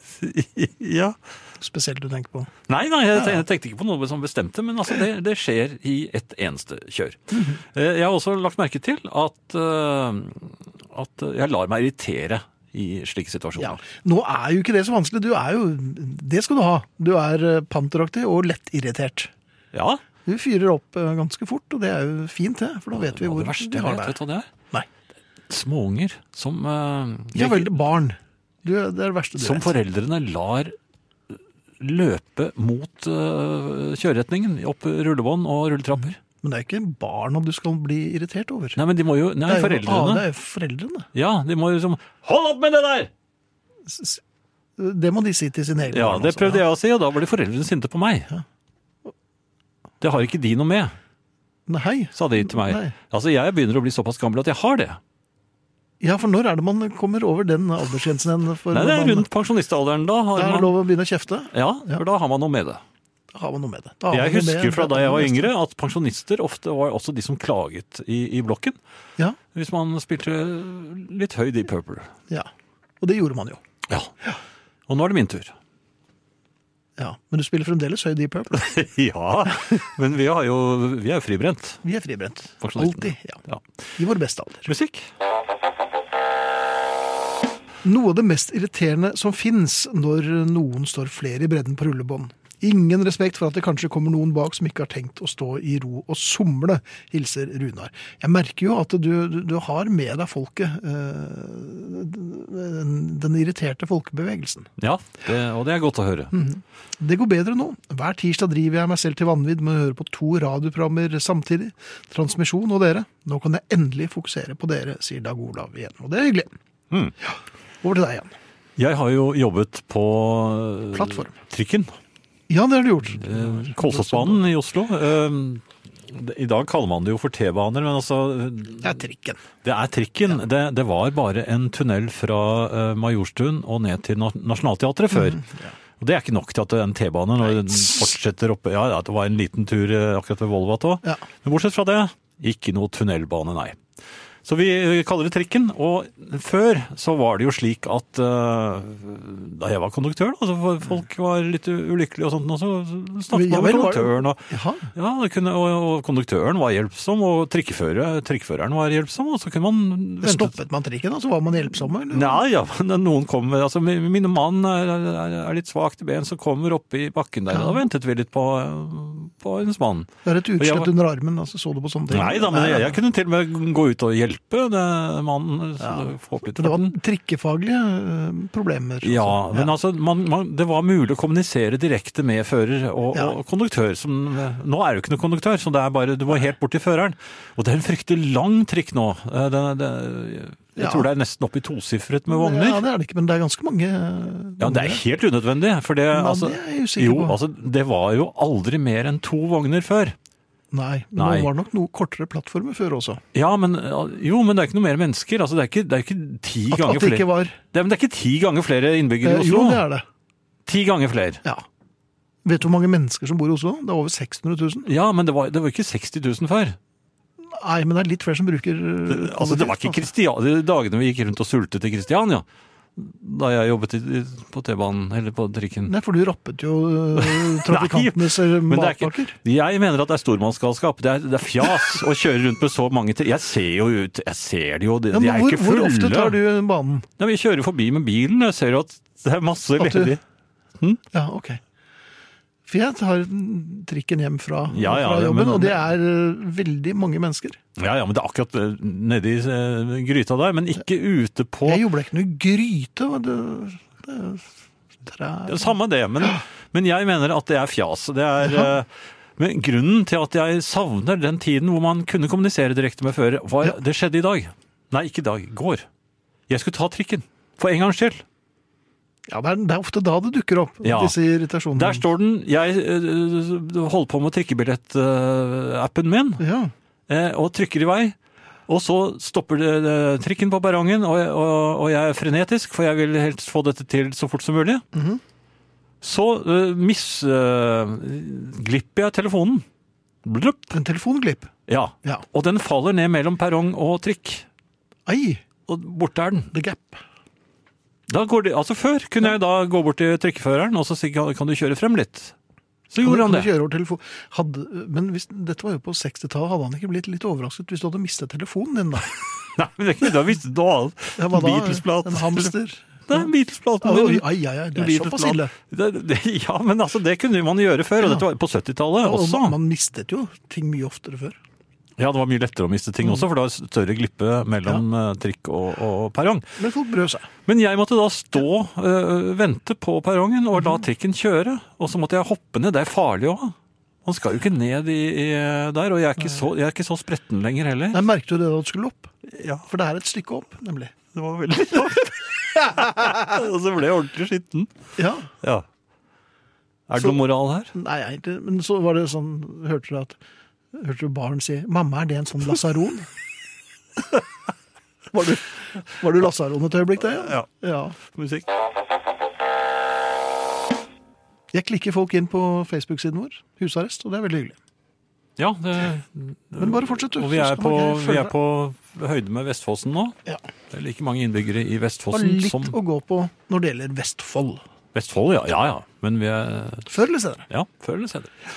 [SPEAKER 3] ja.
[SPEAKER 2] Spesielt du tenker på.
[SPEAKER 3] Nei, nei, jeg tenkte, tenkte ikke på noe som bestemte, men altså, det, det skjer i et eneste kjør.
[SPEAKER 2] Mhm.
[SPEAKER 3] Eh, Jeg har også lagt merke til at, eh, at jeg lar meg irritere i slike
[SPEAKER 2] Ja.
[SPEAKER 3] situasjoner.
[SPEAKER 2] Nå er jo ikke det så vanskelig. Du er jo Det skal du ha. Du er eh, panteraktig og lettirritert.
[SPEAKER 3] Ja,
[SPEAKER 2] Du fyrer opp eh, ganske fort, og det er jo fint, det. For da vet vi
[SPEAKER 3] det,
[SPEAKER 2] hvor
[SPEAKER 3] det verste
[SPEAKER 2] vi
[SPEAKER 3] jeg
[SPEAKER 2] har
[SPEAKER 3] vet,
[SPEAKER 2] deg.
[SPEAKER 3] vet du hva det er?
[SPEAKER 2] Nei.
[SPEAKER 3] Småunger som, eh,
[SPEAKER 2] Ja vel, barn. Du, det er det verste du
[SPEAKER 3] som
[SPEAKER 2] vet.
[SPEAKER 3] foreldrene lar løpe mot eh, kjøreretningen, opp rullebånd og rulletrapper.
[SPEAKER 2] Men det er ikke barna du skal bli irritert over.
[SPEAKER 3] Nei, men de må jo
[SPEAKER 2] det
[SPEAKER 3] Nei,
[SPEAKER 2] er jo ah, det
[SPEAKER 3] foreldrene.
[SPEAKER 2] er jo foreldrene.
[SPEAKER 3] Ja, de må jo liksom Hold opp med det der!
[SPEAKER 2] S- s- Det må de si til sine egne
[SPEAKER 3] Ja,
[SPEAKER 2] barn.
[SPEAKER 3] det prøvde jeg å si, og da ble foreldrene sinte på meg. Det har ikke de noe med,
[SPEAKER 2] Nei.
[SPEAKER 3] sa de til meg.
[SPEAKER 2] Nei.
[SPEAKER 3] Altså, jeg begynner å bli såpass gammel at jeg har det.
[SPEAKER 2] Ja, for når er det man kommer over den aldersgrensen? igjen For
[SPEAKER 3] Nei,
[SPEAKER 2] når
[SPEAKER 3] det er
[SPEAKER 2] man-
[SPEAKER 3] rundt pensjonistalderen
[SPEAKER 2] Da
[SPEAKER 3] da. Har
[SPEAKER 2] er det
[SPEAKER 3] man,
[SPEAKER 2] lov å begynne å kjefte.
[SPEAKER 3] ja, for da har man noe med det.
[SPEAKER 2] Da har man noe med det. Da har
[SPEAKER 3] Jeg
[SPEAKER 2] man noe med
[SPEAKER 3] husker fra
[SPEAKER 2] det.
[SPEAKER 3] da jeg var yngre at pensjonister ofte var også de som klaget i, i blokken.
[SPEAKER 2] Ja,
[SPEAKER 3] Hvis man spilte litt høy Deep Purple.
[SPEAKER 2] ja. Og det gjorde man jo.
[SPEAKER 3] Ja. Og nå er det
[SPEAKER 2] <laughs>
[SPEAKER 3] min tur.
[SPEAKER 2] Ja, Men du spiller fremdeles høy Deep Purple.
[SPEAKER 3] ja, men vi, har jo, vi er jo fribrent.
[SPEAKER 2] Vi er fribrent. Alltid.
[SPEAKER 3] pensjonistene.
[SPEAKER 2] Ja. I vår beste alder.
[SPEAKER 3] Musikk?
[SPEAKER 2] Noe av det mest irriterende som fins når noen står flere i bredden på rullebånd. Ingen respekt for at det kanskje kommer noen bak som ikke har tenkt å stå i ro og somle, hilser Runar. Jeg merker jo at du, du, du har med deg folket, eh, den, den irriterte folkebevegelsen.
[SPEAKER 3] Ja, det, og det er godt å høre.
[SPEAKER 2] Det går bedre nå. Hver tirsdag driver jeg meg selv til vanvidd med å høre på to radioprogrammer samtidig. Transmisjon og dere. Nå kan jeg endelig fokusere på dere, sier Dag Olav igjen. Og det er hyggelig.
[SPEAKER 3] Hmm.
[SPEAKER 2] Ja. Over til deg igjen.
[SPEAKER 3] Jeg har jo jobbet på eh,
[SPEAKER 2] Plattform.
[SPEAKER 3] Trikken.
[SPEAKER 2] Ja, det har du gjort.
[SPEAKER 3] eh, Kolsåsbanen i Oslo. Eh, det- I dag kaller man det jo for T-baner, men altså eh,
[SPEAKER 2] Det er trikken.
[SPEAKER 3] Det er trikken. Det, det var bare en tunnel fra eh, Majorstuen og ned til Na- Nationaltheatret før.
[SPEAKER 2] Mhm.
[SPEAKER 3] Og Det er ikke nok til at det er en T-bane når den fortsetter oppe. Ja, ja, det var en liten tur eh, akkurat ved Volvat òg.
[SPEAKER 2] Ja.
[SPEAKER 3] Men bortsett fra det, ikke noe tunnelbane, nei. Så vi eh, kaller det trikken, og før så var det jo slik at eh, da jeg var konduktør, da, så for- folk var litt u- ulykkelige og sånt, og så så snakket
[SPEAKER 2] Ja vel,
[SPEAKER 3] man med
[SPEAKER 2] var det-
[SPEAKER 3] konduktøren. Og,
[SPEAKER 2] Jaha.
[SPEAKER 3] ja, det kunne, og, og konduktøren var hjelpsom, og trikkefører, trikkeføreren var hjelpsom, og så kunne man
[SPEAKER 2] Det
[SPEAKER 3] vente
[SPEAKER 2] stoppet man trikken, da, så var man hjelpsomme? eller?
[SPEAKER 3] Nei, ja, <laughs> men noen kommer, altså min min mann er, er, er litt svak til ben, så kommer opp i bakken der, og da ventet vi litt på, på hennes mann.
[SPEAKER 2] Det er et
[SPEAKER 3] Jeg
[SPEAKER 2] utslett
[SPEAKER 3] var-
[SPEAKER 2] under armen, altså så du på sånne ting?
[SPEAKER 3] Nei da, men jeg,
[SPEAKER 2] Nei,
[SPEAKER 3] jeg kunne til og med gå ut og hjelpe det, mannen, så
[SPEAKER 2] Ja.
[SPEAKER 3] det få opp litt
[SPEAKER 2] men Det var
[SPEAKER 3] farten.
[SPEAKER 2] trikkefaglige eh, problemer.
[SPEAKER 3] Ja,
[SPEAKER 2] altså.
[SPEAKER 3] men altså, man, man, det var mulig å kommunisere direkte med fører og,
[SPEAKER 2] Ja.
[SPEAKER 3] og konduktør. Som, nå er det jo ikke noe konduktør, så det er bare, du må helt bort til føreren. Og det er en fryktelig lang trikk nå. Eh, Den, den, jeg
[SPEAKER 2] Ja.
[SPEAKER 3] tror det er nesten oppe i tosifret med vogner.
[SPEAKER 2] Ja, det er det ikke, men det er ganske mange. eh,
[SPEAKER 3] Ja, det er
[SPEAKER 2] vogner.
[SPEAKER 3] helt unødvendig. For det, altså,
[SPEAKER 2] det er jeg usikker
[SPEAKER 3] jo,
[SPEAKER 2] på.
[SPEAKER 3] altså, det var jo aldri mer enn to vogner før.
[SPEAKER 2] Nei, men
[SPEAKER 3] Nei.
[SPEAKER 2] det var nok noe kortere plattformer før også.
[SPEAKER 3] Ja, men, jo, men det er ikke noe mer mennesker. Altså, det, er ikke, det er ikke ti
[SPEAKER 2] At,
[SPEAKER 3] ganger
[SPEAKER 2] at det
[SPEAKER 3] flere.
[SPEAKER 2] ikke var
[SPEAKER 3] Det, er- men det er ikke ti ganger flere innbyggere
[SPEAKER 2] Eh,
[SPEAKER 3] i
[SPEAKER 2] Jo,
[SPEAKER 3] Oslo.
[SPEAKER 2] det er det.
[SPEAKER 3] Ti ganger flere.
[SPEAKER 2] Ja. Vet du hvor mange mennesker som bor i Oslo? Det er over 600 000.
[SPEAKER 3] Ja, men det var, det var ikke 60 000 før.
[SPEAKER 2] Nei, men det er litt flere som bruker eh,
[SPEAKER 3] Altså, det var ikke
[SPEAKER 2] kollektivt,
[SPEAKER 3] Kristian- de dagene vi gikk rundt og sultet i Kristiania. Da jeg jobbet i, i- på T-banen, eller på trikken.
[SPEAKER 2] Nei, for du rappet jo
[SPEAKER 3] <laughs>
[SPEAKER 2] eh, trafikantenes eh,
[SPEAKER 3] Men det er
[SPEAKER 2] matpakker.
[SPEAKER 3] ikke, jeg mener at det er stormannsgalskap. Det er, det er fjas å kjøre rundt med så mange til. Jeg ser jo ut Jeg ser det jo, de,
[SPEAKER 2] Ja,
[SPEAKER 3] de
[SPEAKER 2] men
[SPEAKER 3] er
[SPEAKER 2] hvor,
[SPEAKER 3] ikke
[SPEAKER 2] hvor
[SPEAKER 3] fulle.
[SPEAKER 2] ofte tar du eh, banen?
[SPEAKER 3] Nei, vi kjører forbi med bilen, jeg ser jo at det er masse
[SPEAKER 2] At du-
[SPEAKER 3] ledige.
[SPEAKER 2] Ja, ok. For jeg tar trikken hjem fra,
[SPEAKER 3] Ja, ja,
[SPEAKER 2] fra jobben,
[SPEAKER 3] men-
[SPEAKER 2] og det er eh, veldig mange mennesker.
[SPEAKER 3] Ja, ja, men det er akkurat eh, nedi eh, gryta der, men ikke ute på
[SPEAKER 2] Jeg jobber ikke noe gryte. hva Det, det er trær
[SPEAKER 3] Det er Samme det, men, men jeg mener at det er fjas. Det er, eh, men grunnen til at jeg savner den tiden hvor man kunne kommunisere direkte med fører, var det skjedde i dag. Nei, ikke i dag. i Går. Jeg skulle ta trikken. For en gangs skyld.
[SPEAKER 2] Ja, det er, det er ofte da det dukker opp,
[SPEAKER 3] Ja.
[SPEAKER 2] disse irritasjonene.
[SPEAKER 3] Der står den. Jeg øh, holder på med trikkebillett-appen min,
[SPEAKER 2] Ja.
[SPEAKER 3] eh, og trykker i vei. Og så stopper det, det- trikken på perrongen, og, og, og jeg er frenetisk, for jeg vil helst få dette til så fort som mulig.
[SPEAKER 2] Mhm.
[SPEAKER 3] Så eh, misglipper jeg telefonen. Blup.
[SPEAKER 2] En telefonglipp.
[SPEAKER 3] Ja.
[SPEAKER 2] Ja.
[SPEAKER 3] Og den faller ned mellom perrong og trikk.
[SPEAKER 2] Ai,
[SPEAKER 3] Og borte er den.
[SPEAKER 2] the gap.
[SPEAKER 3] Da går det, altså Før kunne jeg da gå bort til trikkeføreren og så si kan kan du kjøre frem litt. Så gjorde
[SPEAKER 2] Kan
[SPEAKER 3] han
[SPEAKER 2] du
[SPEAKER 3] det.
[SPEAKER 2] kjøre over telefon- Hadde, men hvis, dette var jo på 60-tallet. Hadde han ikke blitt litt overrasket hvis du hadde mistet telefonen din, da?
[SPEAKER 3] Nei, <laughs> men det er ikke, da visste du alt.
[SPEAKER 2] Ja, hva da?
[SPEAKER 3] Beatles-plate.
[SPEAKER 2] En hamster?
[SPEAKER 3] Det er <laughs> en Beatles-plate.
[SPEAKER 2] Oi, oi, ai, ai, ai, det
[SPEAKER 3] En
[SPEAKER 2] er såpass
[SPEAKER 3] Beatles-plate.
[SPEAKER 2] ille.
[SPEAKER 3] Det- <laughs> det- Ja, men altså, det kunne man gjøre før, og
[SPEAKER 2] Ja.
[SPEAKER 3] dette var på 70-tallet
[SPEAKER 2] Ja, og man,
[SPEAKER 3] også.
[SPEAKER 2] man mistet jo ting mye oftere før.
[SPEAKER 3] Ja, det var mye lettere å miste
[SPEAKER 2] Mm.
[SPEAKER 3] ting også, for det var større glippe mellom eh, trikk og, og perrong.
[SPEAKER 2] Men folk brød seg.
[SPEAKER 3] Men jeg måtte da stå, øh, vente på perrongen og
[SPEAKER 2] Mhm.
[SPEAKER 3] la trikken kjøre. Og så måtte jeg hoppe ned. Det er farlig òg. Man skal jo ikke ned i, i der. Og jeg er, ikke så, jeg er ikke så spretten lenger heller.
[SPEAKER 2] Nei, Merket du det da du skulle opp?
[SPEAKER 3] Ja,
[SPEAKER 2] For det er et stykke opp, nemlig.
[SPEAKER 3] det var veldig dårlig. <laughs> og så ble jeg ordentlig skitten.
[SPEAKER 2] Ja,
[SPEAKER 3] Ja. Er det noe moral her?
[SPEAKER 2] nei, jeg, det- Men så var det sånn Hørte du at Hørte du barn si 'Mamma, er det en sånn
[SPEAKER 3] <laughs>
[SPEAKER 2] lasaron?' var du, var du lasaron et øyeblikk der?
[SPEAKER 3] Ja.
[SPEAKER 2] ja.
[SPEAKER 3] Musikk?
[SPEAKER 2] Jeg klikker folk inn på Facebook-siden vår, husarrest, og det er veldig hyggelig.
[SPEAKER 3] Ja, det,
[SPEAKER 2] Men bare fortsett, du.
[SPEAKER 3] og vi
[SPEAKER 2] så
[SPEAKER 3] er,
[SPEAKER 2] skal
[SPEAKER 3] på,
[SPEAKER 2] man ikke
[SPEAKER 3] vi
[SPEAKER 2] føle
[SPEAKER 3] er på høyde med Vestfossen nå.
[SPEAKER 2] Ja.
[SPEAKER 3] Det er like mange innbyggere i
[SPEAKER 2] deg- har
[SPEAKER 3] Vestfossen
[SPEAKER 2] litt
[SPEAKER 3] som
[SPEAKER 2] å gå på når det gjelder Vestfold.
[SPEAKER 3] Vestfold, ja. Ja ja. Men vi er
[SPEAKER 2] Før eller senere.
[SPEAKER 3] Ja, før eller senere.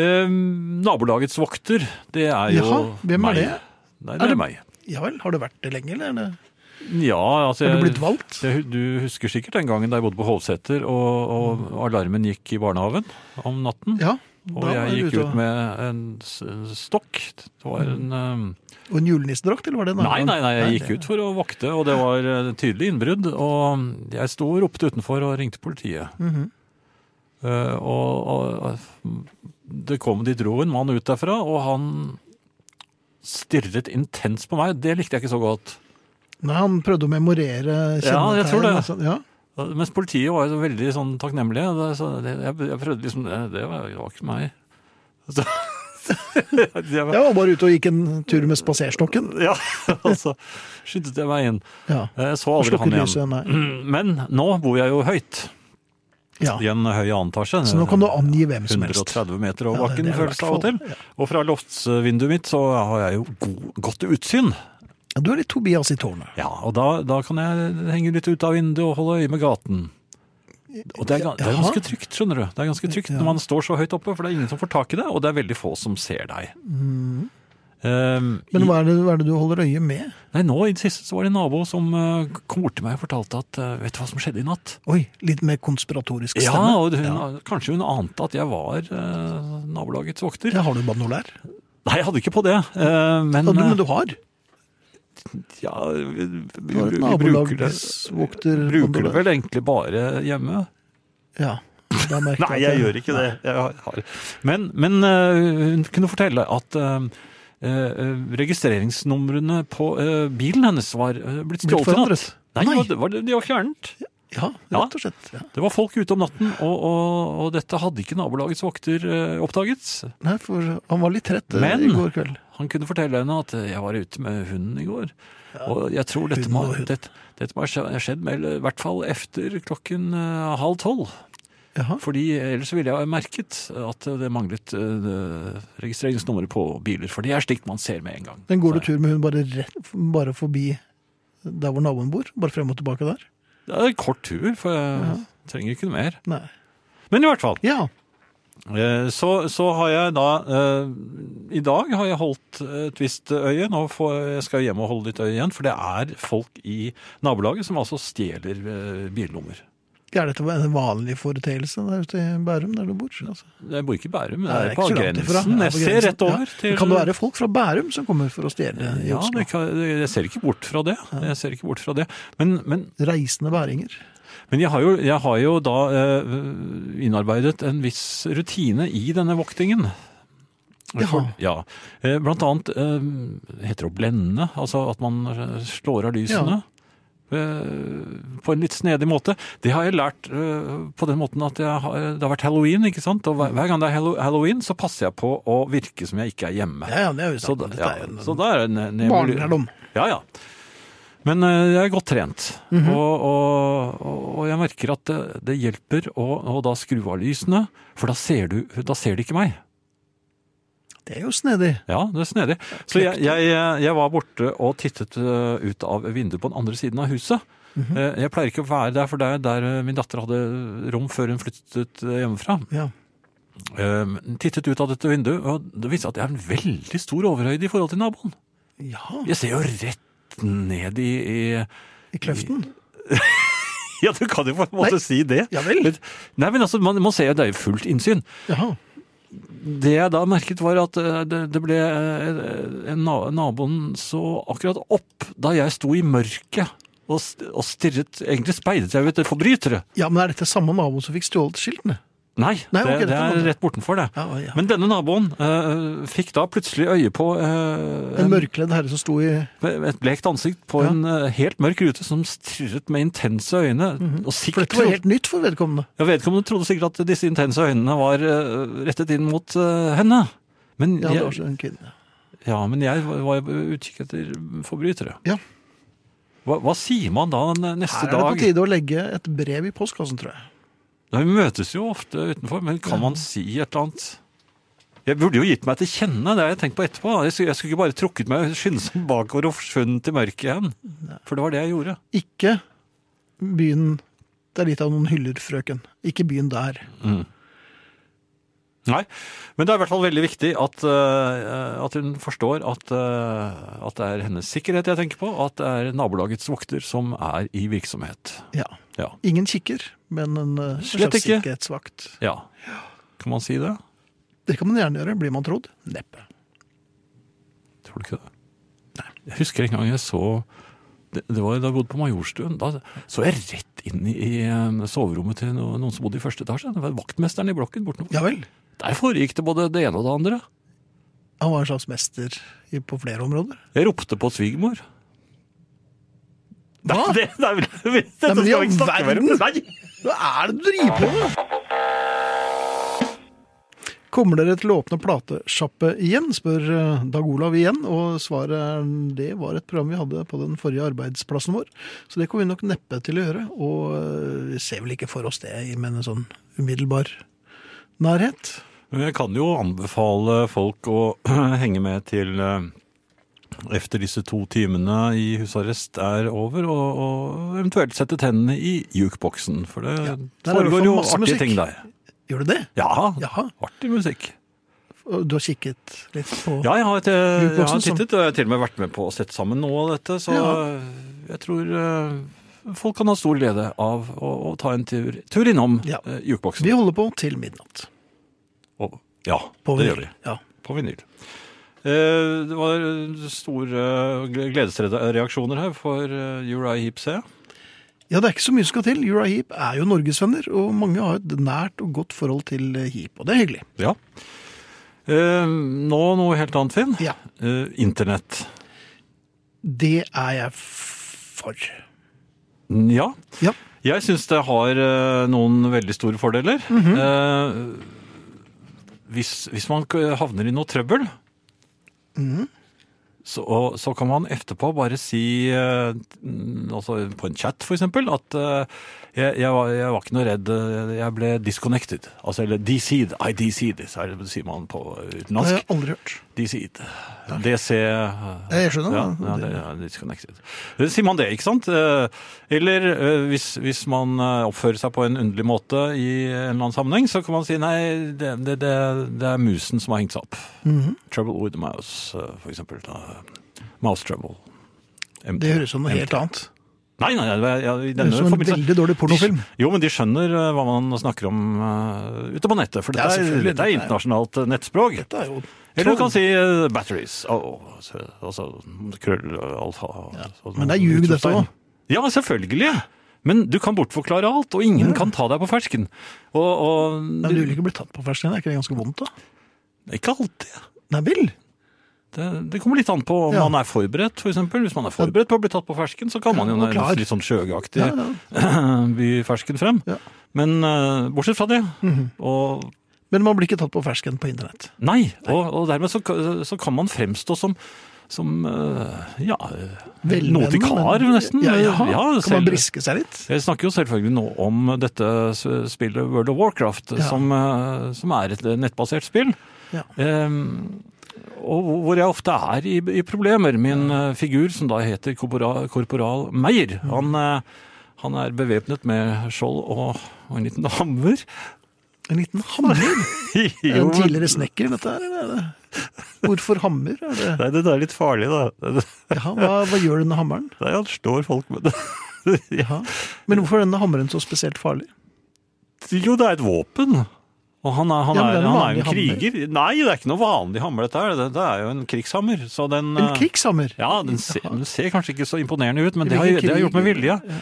[SPEAKER 3] Ehm, nabolagets vokter, det er jo
[SPEAKER 2] Jaha, hvem er
[SPEAKER 3] meg.
[SPEAKER 2] det?
[SPEAKER 3] Nei,
[SPEAKER 2] Er
[SPEAKER 3] det er
[SPEAKER 2] det-
[SPEAKER 3] meg.
[SPEAKER 2] Ja vel, har det vært det lenge, eller? er det-
[SPEAKER 3] Ja, altså,
[SPEAKER 2] Har du
[SPEAKER 3] jeg-
[SPEAKER 2] blitt valgt?
[SPEAKER 3] det- Du husker sikkert den gangen da jeg bodde på Hovseter, og, og alarmen gikk i barnehaven om natten.
[SPEAKER 2] Ja.
[SPEAKER 3] og
[SPEAKER 2] da var
[SPEAKER 3] jeg
[SPEAKER 2] du
[SPEAKER 3] gikk
[SPEAKER 2] ute
[SPEAKER 3] ut
[SPEAKER 2] og- Mm.
[SPEAKER 3] med en, s- en stokk. Det var en ehm,
[SPEAKER 2] Og en julenissedrakt, eller var det en
[SPEAKER 3] Nei,
[SPEAKER 2] annen?
[SPEAKER 3] nei, nei, jeg
[SPEAKER 2] det-
[SPEAKER 3] gikk ut for å vokte, og det var eh, tydelig innbrudd. Og jeg sto og ropte utenfor og ringte politiet. Eh, og, og det kom, de dro en mann ut derfra, og han stirret intens på meg. Det likte jeg ikke så godt.
[SPEAKER 2] Nei, han prøvde å memorere
[SPEAKER 3] Ja, jeg tror det.
[SPEAKER 2] og sånn, Ja.
[SPEAKER 3] Eh, Mens politiet var jo veldig sånn takknemlige. og da sa jeg- Jeg, jeg prøvde liksom Det, det, var, det var ikke meg. Så, <laughs> jeg, var-
[SPEAKER 2] Jeg var bare ute og gikk en tur med spaserstokken.
[SPEAKER 3] ja, <laughs> og så skyndte jeg meg inn. Eh,
[SPEAKER 2] Ja.
[SPEAKER 3] Jeg så
[SPEAKER 2] Og
[SPEAKER 3] aldri han
[SPEAKER 2] slukket
[SPEAKER 3] igjen.
[SPEAKER 2] lyset, nei.
[SPEAKER 3] Men nå bor jeg jo høyt,
[SPEAKER 2] Ja.
[SPEAKER 3] i en høy annen etasje.
[SPEAKER 2] Så nå kan du angi hvem som helst.
[SPEAKER 3] 130 meter over
[SPEAKER 2] Ja, det-
[SPEAKER 3] bakken,
[SPEAKER 2] det er i
[SPEAKER 3] føles det av
[SPEAKER 2] hvert
[SPEAKER 3] og til.
[SPEAKER 2] fall, ja.
[SPEAKER 3] Og fra loftsvinduet mitt så har jeg jo god, godt utsyn.
[SPEAKER 2] Ja, Du er litt Tobias i tårnet.
[SPEAKER 3] Ja, og da, da kan jeg henge litt ut av vinduet og holde øye med gaten. Og det er, gan- det er
[SPEAKER 2] Jaha.
[SPEAKER 3] ganske trygt, skjønner du. Det er ganske trygt når man står så høyt oppe, for det er ingen som får tak i deg, og det er veldig få som ser deg. Um,
[SPEAKER 2] Mm. Men
[SPEAKER 3] i-
[SPEAKER 2] hva er, det, hva er det du holder øye med?
[SPEAKER 3] Nei, nå i det siste så var det en nabo som eh, kom bort til meg og fortalte at eh, vet du hva som skjedde i natt?
[SPEAKER 2] Oi, litt mer konspiratorisk
[SPEAKER 3] Ja,
[SPEAKER 2] stemme.
[SPEAKER 3] og hun, eh, kanskje hun ante at jeg var eh, nabolagets vokter.
[SPEAKER 2] Ja, har du banolær?
[SPEAKER 3] Nei, jeg hadde ikke på det. eh, men, eh,
[SPEAKER 2] Ja, du- men du har?
[SPEAKER 3] ja, vi, vi,
[SPEAKER 2] Du har et
[SPEAKER 3] vi bruker det,
[SPEAKER 2] nabolagsvokter?
[SPEAKER 3] bruker det vel egentlig bare hjemme.
[SPEAKER 2] Ja. Da merker
[SPEAKER 3] Nei, jeg gjør ikke det. Jeg har. Men, men eh, hun kunne fortelle at eh, eh, registreringsnumrene på eh, bilen hennes var eh, blitt
[SPEAKER 2] Blitt
[SPEAKER 3] stjålet i natt.
[SPEAKER 2] forandret?
[SPEAKER 3] Nei,
[SPEAKER 2] Nei.
[SPEAKER 3] Var det, var det, de var fjernet.
[SPEAKER 2] Ja,
[SPEAKER 3] Ja.
[SPEAKER 2] rett og slett. Ja.
[SPEAKER 3] Det var folk ute om natten, og, og, og dette hadde ikke nabolagets vokter eh, oppdaget.
[SPEAKER 2] Nei, for han var litt trett eh,
[SPEAKER 3] Men-
[SPEAKER 2] i går kveld.
[SPEAKER 3] Han kunne fortelle henne at jeg var ute med hunden i går. Og jeg tror dette
[SPEAKER 2] Hunden
[SPEAKER 3] må,
[SPEAKER 2] og hunden.
[SPEAKER 3] dette, dette må ha skje- skjedd med, i hvert fall efter klokken eh, halv tolv.
[SPEAKER 2] Jaha.
[SPEAKER 3] Fordi ellers ville jeg ha merket at det manglet uh, registreringsnummeret på biler. For det er slikt man ser med en gang.
[SPEAKER 2] Den går du
[SPEAKER 3] Så-
[SPEAKER 2] tur med hun bare, rett, bare forbi der hvor naboen bor? Bare frem og tilbake der?
[SPEAKER 3] Det er en kort tur, for jeg trenger ikke noe mer.
[SPEAKER 2] Nei.
[SPEAKER 3] Men i hvert fall.
[SPEAKER 2] Ja.
[SPEAKER 3] Eh, Så, så har jeg da eh, I dag har jeg holdt et visst øye. Nå får, jeg skal jeg hjem og holde litt øye igjen, for det er folk i nabolaget som altså stjeler eh, billommer.
[SPEAKER 2] Er dette en vanlig foreteelse der ute i Bærum, der du bor? Altså.
[SPEAKER 3] Jeg bor ikke i Bærum,
[SPEAKER 2] Nei,
[SPEAKER 3] jeg
[SPEAKER 2] det
[SPEAKER 3] er på
[SPEAKER 2] ikke så langt ifra.
[SPEAKER 3] grensen.
[SPEAKER 2] Ja,
[SPEAKER 3] Jeg
[SPEAKER 2] på
[SPEAKER 3] ser
[SPEAKER 2] grensen.
[SPEAKER 3] rett over
[SPEAKER 2] Ja.
[SPEAKER 3] til
[SPEAKER 2] Men Kan det være folk fra Bærum som kommer for å stjele i
[SPEAKER 3] Ja,
[SPEAKER 2] Oslo?
[SPEAKER 3] det kan, jeg ser ikke bort fra det. Jeg ser ikke bort fra det. Men, men,
[SPEAKER 2] Reisende bæringer.
[SPEAKER 3] men jeg, har jo, jeg har jo da eh, innarbeidet en viss rutine i denne voktingen.
[SPEAKER 2] Jaha.
[SPEAKER 3] For- Ja. Eh, Blant annet eh, heter det å blende, altså at man eh, slår av lysene. eh, På en litt snedig måte. Det har jeg lært eh, på den måten at jeg har, det har vært halloween. ikke sant? Og hver- hver gang det er hallo- halloween, så passer jeg på å virke som jeg ikke er hjemme.
[SPEAKER 2] Ja, ja, det er jo
[SPEAKER 3] Så,
[SPEAKER 2] sant.
[SPEAKER 3] da-
[SPEAKER 2] Dette er
[SPEAKER 3] ja,
[SPEAKER 2] jo en-
[SPEAKER 3] så da er det en, en
[SPEAKER 2] Barndom.
[SPEAKER 3] Ja, ja. Men eh, jeg er godt trent, og, og, og- og jeg merker at det, det hjelper å, å da skru av lysene, for da ser, du, da ser de ikke meg.
[SPEAKER 2] Det er jo snedig.
[SPEAKER 3] Ja, det er snedig. Så jeg, jeg, eh, jeg var borte og tittet eh, ut av vinduet på den andre siden av huset. Eh, Jeg pleier ikke å være der, for det er der eh, min datter hadde rom før hun flyttet eh, hjemmefra.
[SPEAKER 2] Ja.
[SPEAKER 3] Eh, Tittet ut av dette vinduet, og det viste seg at jeg har en veldig stor overhøyde i forhold til naboen.
[SPEAKER 2] ja,
[SPEAKER 3] Jeg ser jo rett ned i, i
[SPEAKER 2] i kløften.
[SPEAKER 3] Ja, du kan jo på en måte
[SPEAKER 2] Nei.
[SPEAKER 3] si det.
[SPEAKER 2] Ja vel.
[SPEAKER 3] Men, nei, men altså, man, man ser jo det er jo fullt innsyn.
[SPEAKER 2] Jaha.
[SPEAKER 3] Det jeg da merket var at eh, det, det ble eh, en na- Naboen så akkurat opp da jeg sto i mørket og, s- og stirret Egentlig speidet jeg jo etter forbrytere.
[SPEAKER 2] Ja, men er dette samme nabo som fikk stjålet skiltene?
[SPEAKER 3] Nei,
[SPEAKER 2] Nei,
[SPEAKER 3] det,
[SPEAKER 2] ok, det
[SPEAKER 3] det
[SPEAKER 2] kan
[SPEAKER 3] er
[SPEAKER 2] man-
[SPEAKER 3] rett bortenfor det.
[SPEAKER 2] Ja, ja.
[SPEAKER 3] Men denne naboen eh, fikk da plutselig øye på eh,
[SPEAKER 2] En mørkledd herre som sto i
[SPEAKER 3] et blekt ansikt på
[SPEAKER 2] Ja.
[SPEAKER 3] en eh, helt mørk rute som stirret med intense øyne. Og
[SPEAKER 2] Mhm. For
[SPEAKER 3] sikkert
[SPEAKER 2] dette var helt nytt for vedkommende.
[SPEAKER 3] Ja, Vedkommende trodde sikkert at disse intense øynene var eh, rettet inn mot eh, henne. Men
[SPEAKER 2] Ja, det var
[SPEAKER 3] jeg,
[SPEAKER 2] også en kvinne.
[SPEAKER 3] ja, men jeg var- var på utkikk etter forbrytere.
[SPEAKER 2] Ja.
[SPEAKER 3] Hva, hva sier man da n- neste
[SPEAKER 2] Her er det på
[SPEAKER 3] dag?
[SPEAKER 2] tide å legge et brev i postkassen, tror jeg.
[SPEAKER 3] Ja, Vi møtes jo ofte utenfor, men kan man si et eller annet? Jeg burde jo gitt meg til kjenne, det har jeg tenkt på etterpå. Jeg skulle, jeg skulle ikke bare trukket meg skyndsomt bakover og forsvunnet i mørket igjen. For det var det jeg gjorde.
[SPEAKER 2] Ikke byen Det er litt av noen hyller, frøken. Ikke byen der.
[SPEAKER 3] Nei, men det er i hvert fall veldig viktig at, eh, at hun forstår at, eh, at det er hennes sikkerhet jeg tenker på, og at det er nabolagets vokter som er i virksomhet.
[SPEAKER 2] Ja.
[SPEAKER 3] Ja.
[SPEAKER 2] Ingen kikker, men en eh,
[SPEAKER 3] Slett
[SPEAKER 2] slags
[SPEAKER 3] ikke.
[SPEAKER 2] sikkerhetsvakt.
[SPEAKER 3] ja. Kan man si det?
[SPEAKER 2] Det kan man gjerne gjøre, blir man trodd. Neppe.
[SPEAKER 3] Tror du ikke det? Nei. Jeg husker en gang jeg så det, det var da jeg bodde på Majorstuen. Da så jeg rett inn i, i eh, soverommet til no- noen som bodde i første etasje. Det var vaktmesteren i blokken bortenfor.
[SPEAKER 2] Ja vel.
[SPEAKER 3] Der foregikk det både det ene og det andre.
[SPEAKER 2] Han var en slags mester i- på flere områder.
[SPEAKER 3] Jeg ropte på svigermor.
[SPEAKER 2] Hva?
[SPEAKER 3] <laughs> Det, det er, dette
[SPEAKER 2] Ah. men i
[SPEAKER 3] skal
[SPEAKER 2] all
[SPEAKER 3] vi ikke snakke mer om.
[SPEAKER 2] verden!
[SPEAKER 3] Nei!
[SPEAKER 2] Hva er det du driver på med? Kommer dere til å åpne platesjappe igjen, spør eh, Dag Olav igjen. Og svaret er det var et program vi hadde på den forrige arbeidsplassen vår. Så det kommer vi nok neppe til å gjøre. Og eh, vi ser vel ikke for oss det i en sånn umiddelbar nærhet.
[SPEAKER 3] Men Jeg kan jo anbefale folk å <clears throat> henge med til eh, efter disse to timene i husarrest er over, og, og eventuelt sette tennene i jukeboksen. For det
[SPEAKER 2] Ja, der er det i hvert
[SPEAKER 3] foregår
[SPEAKER 2] fall
[SPEAKER 3] jo
[SPEAKER 2] masse
[SPEAKER 3] artige
[SPEAKER 2] musikk.
[SPEAKER 3] ting der.
[SPEAKER 2] Gjør du det?
[SPEAKER 3] Ja,
[SPEAKER 2] Jaha.
[SPEAKER 3] artig musikk.
[SPEAKER 2] Og Du har kikket litt på
[SPEAKER 3] Ja, jeg har, et, jeg
[SPEAKER 2] Jukeboksen
[SPEAKER 3] har
[SPEAKER 2] som-
[SPEAKER 3] tittet, og jeg har til og med vært med på å sette sammen noe av dette, så
[SPEAKER 2] Ja.
[SPEAKER 3] jeg tror eh, folk kan ha stor glede av å, å ta en tur, tur innom
[SPEAKER 2] Ja.
[SPEAKER 3] eh, jukeboksen.
[SPEAKER 2] Vi holder på til midnatt.
[SPEAKER 3] Og, ja,
[SPEAKER 2] På
[SPEAKER 3] det
[SPEAKER 2] vinyl.
[SPEAKER 3] gjør vi.
[SPEAKER 2] Ja.
[SPEAKER 3] på vinyl. Eh, Det var store gle- gledesreaksjoner her for eh, Uriah Heep C.
[SPEAKER 2] Ja, det er ikke så mye som skal til. Uriah Heap er jo norgesvenner, og mange har et nært og godt forhold til Heap, og det er hyggelig.
[SPEAKER 3] Ja. Eh, Nå noe helt annet, Finn.
[SPEAKER 2] Ja.
[SPEAKER 3] Eh, Internett.
[SPEAKER 2] Det er jeg f- for.
[SPEAKER 3] Ja.
[SPEAKER 2] Ja.
[SPEAKER 3] Jeg syns det har eh, noen veldig store fordeler. Eh, hvis, hvis man k- havner i noe trøbbel, så, og, så kan man etterpå bare si, eh, mm, altså på en chat f.eks., at eh, jeg, jeg, var, jeg var ikke noe redd, eh, jeg ble disconnected. Altså, eller DC'd, I DC'd, så er- sier man på
[SPEAKER 2] Det har
[SPEAKER 3] utenlandsk.
[SPEAKER 2] jeg aldri hørt.
[SPEAKER 3] DC'd. DC eh,
[SPEAKER 2] Jeg skjønner.
[SPEAKER 3] ja, ja, det er disconnected. Det Sier man det, ikke sant? Eh, Eller eh, hvis, hvis man eh, oppfører seg på en underlig måte i en eller annen sammenheng, så kan man si nei, det, det, det, det er musen som har hengt seg opp.
[SPEAKER 2] Mhm.
[SPEAKER 3] Trouble with the mouse, eh, for eksempel. da. Mouse trouble.
[SPEAKER 2] Det høres ut som noe helt annet.
[SPEAKER 3] Nei, nei, nei, jeg, jeg, i
[SPEAKER 2] Det
[SPEAKER 3] denne
[SPEAKER 2] er som en
[SPEAKER 3] forbindelse-
[SPEAKER 2] veldig dårlig pornofilm.
[SPEAKER 3] Jo, men de skjønner eh, hva man snakker om eh, ute på nettet, for
[SPEAKER 4] Ja,
[SPEAKER 3] dette er, dette
[SPEAKER 4] selvfølgelig,
[SPEAKER 3] er
[SPEAKER 4] dette er-
[SPEAKER 3] internasjonalt eh, nettspråk.
[SPEAKER 4] Dette er jo
[SPEAKER 3] Eller du kan si eh, batteries. Å, å, så- Altså krøll, sånn alfa og-
[SPEAKER 2] men det er ljug, dette
[SPEAKER 3] utropstegn.
[SPEAKER 2] også.
[SPEAKER 3] Ja, selvfølgelig. Men du kan bortforklare alt, og ingen kan ta deg på fersken. Og, og
[SPEAKER 2] Men du vil ikke bli tatt på fersken? Er ikke det ganske vondt, da?
[SPEAKER 3] Ikke alltid.
[SPEAKER 2] Nei vel?
[SPEAKER 3] Det, det kommer litt an på om
[SPEAKER 2] Ja.
[SPEAKER 3] man er forberedt, for eksempel. Hvis man er forberedt på å bli tatt på fersken, så kan man jo
[SPEAKER 2] og klar.
[SPEAKER 3] nærmest litt sånn sjøgaktig
[SPEAKER 2] Ja, ja.
[SPEAKER 3] <clears throat> by fersken frem.
[SPEAKER 2] Ja. Mhm.
[SPEAKER 3] Men eh, bortsett fra det, og
[SPEAKER 2] Men man blir ikke tatt på fersken på internett.
[SPEAKER 3] Nei, og, og dermed så, ka- så kan man fremstå som som eh, ja
[SPEAKER 2] Velmenende,
[SPEAKER 3] noe til kar,
[SPEAKER 2] men-
[SPEAKER 3] nesten.
[SPEAKER 2] Ja, ja. kan man
[SPEAKER 3] selv-
[SPEAKER 2] briske seg litt?
[SPEAKER 3] jeg snakker jo selvfølgelig nå om dette s- spillet World of Warcraft,
[SPEAKER 2] Ja.
[SPEAKER 3] som, eh, som er et nettbasert spill.
[SPEAKER 2] Ja.
[SPEAKER 3] Ehm, og hvor- hvor jeg ofte er i, i problemer. Min eh, figur, som da heter korporal, korporal Meyer,
[SPEAKER 2] Mm.
[SPEAKER 3] han, eh, han er bevæpnet med skjold og, og en liten hammer. <laughs>
[SPEAKER 2] En liten hammer? Er det
[SPEAKER 3] Jo,
[SPEAKER 2] en
[SPEAKER 3] men-
[SPEAKER 2] tidligere snekker, dette her? eller er det- Hvorfor hammer? Er det?
[SPEAKER 3] Nei, det er litt farlig, da. Det- det-
[SPEAKER 2] Ja, hva, hva gjør denne hammeren?
[SPEAKER 3] Nei, han slår folk med det. <laughs>
[SPEAKER 2] Ja. Men hvorfor er denne hammeren så spesielt farlig?
[SPEAKER 3] Jo, det er et våpen. Og han er, han
[SPEAKER 2] Ja, men det er
[SPEAKER 3] er,
[SPEAKER 2] en
[SPEAKER 3] han er jo
[SPEAKER 2] vanlig
[SPEAKER 3] en
[SPEAKER 2] hammer.
[SPEAKER 3] kriger. Nei, det er ikke noe vanlig hammer, dette her. Det, det er jo en krigshammer. Så den,
[SPEAKER 2] En
[SPEAKER 3] eh,
[SPEAKER 2] krigshammer?
[SPEAKER 3] Ja, den ser, den ser kanskje ikke så imponerende ut, men
[SPEAKER 2] I
[SPEAKER 3] det har,
[SPEAKER 2] hvilken
[SPEAKER 3] det har jeg
[SPEAKER 2] krig-
[SPEAKER 3] gjort med vilje.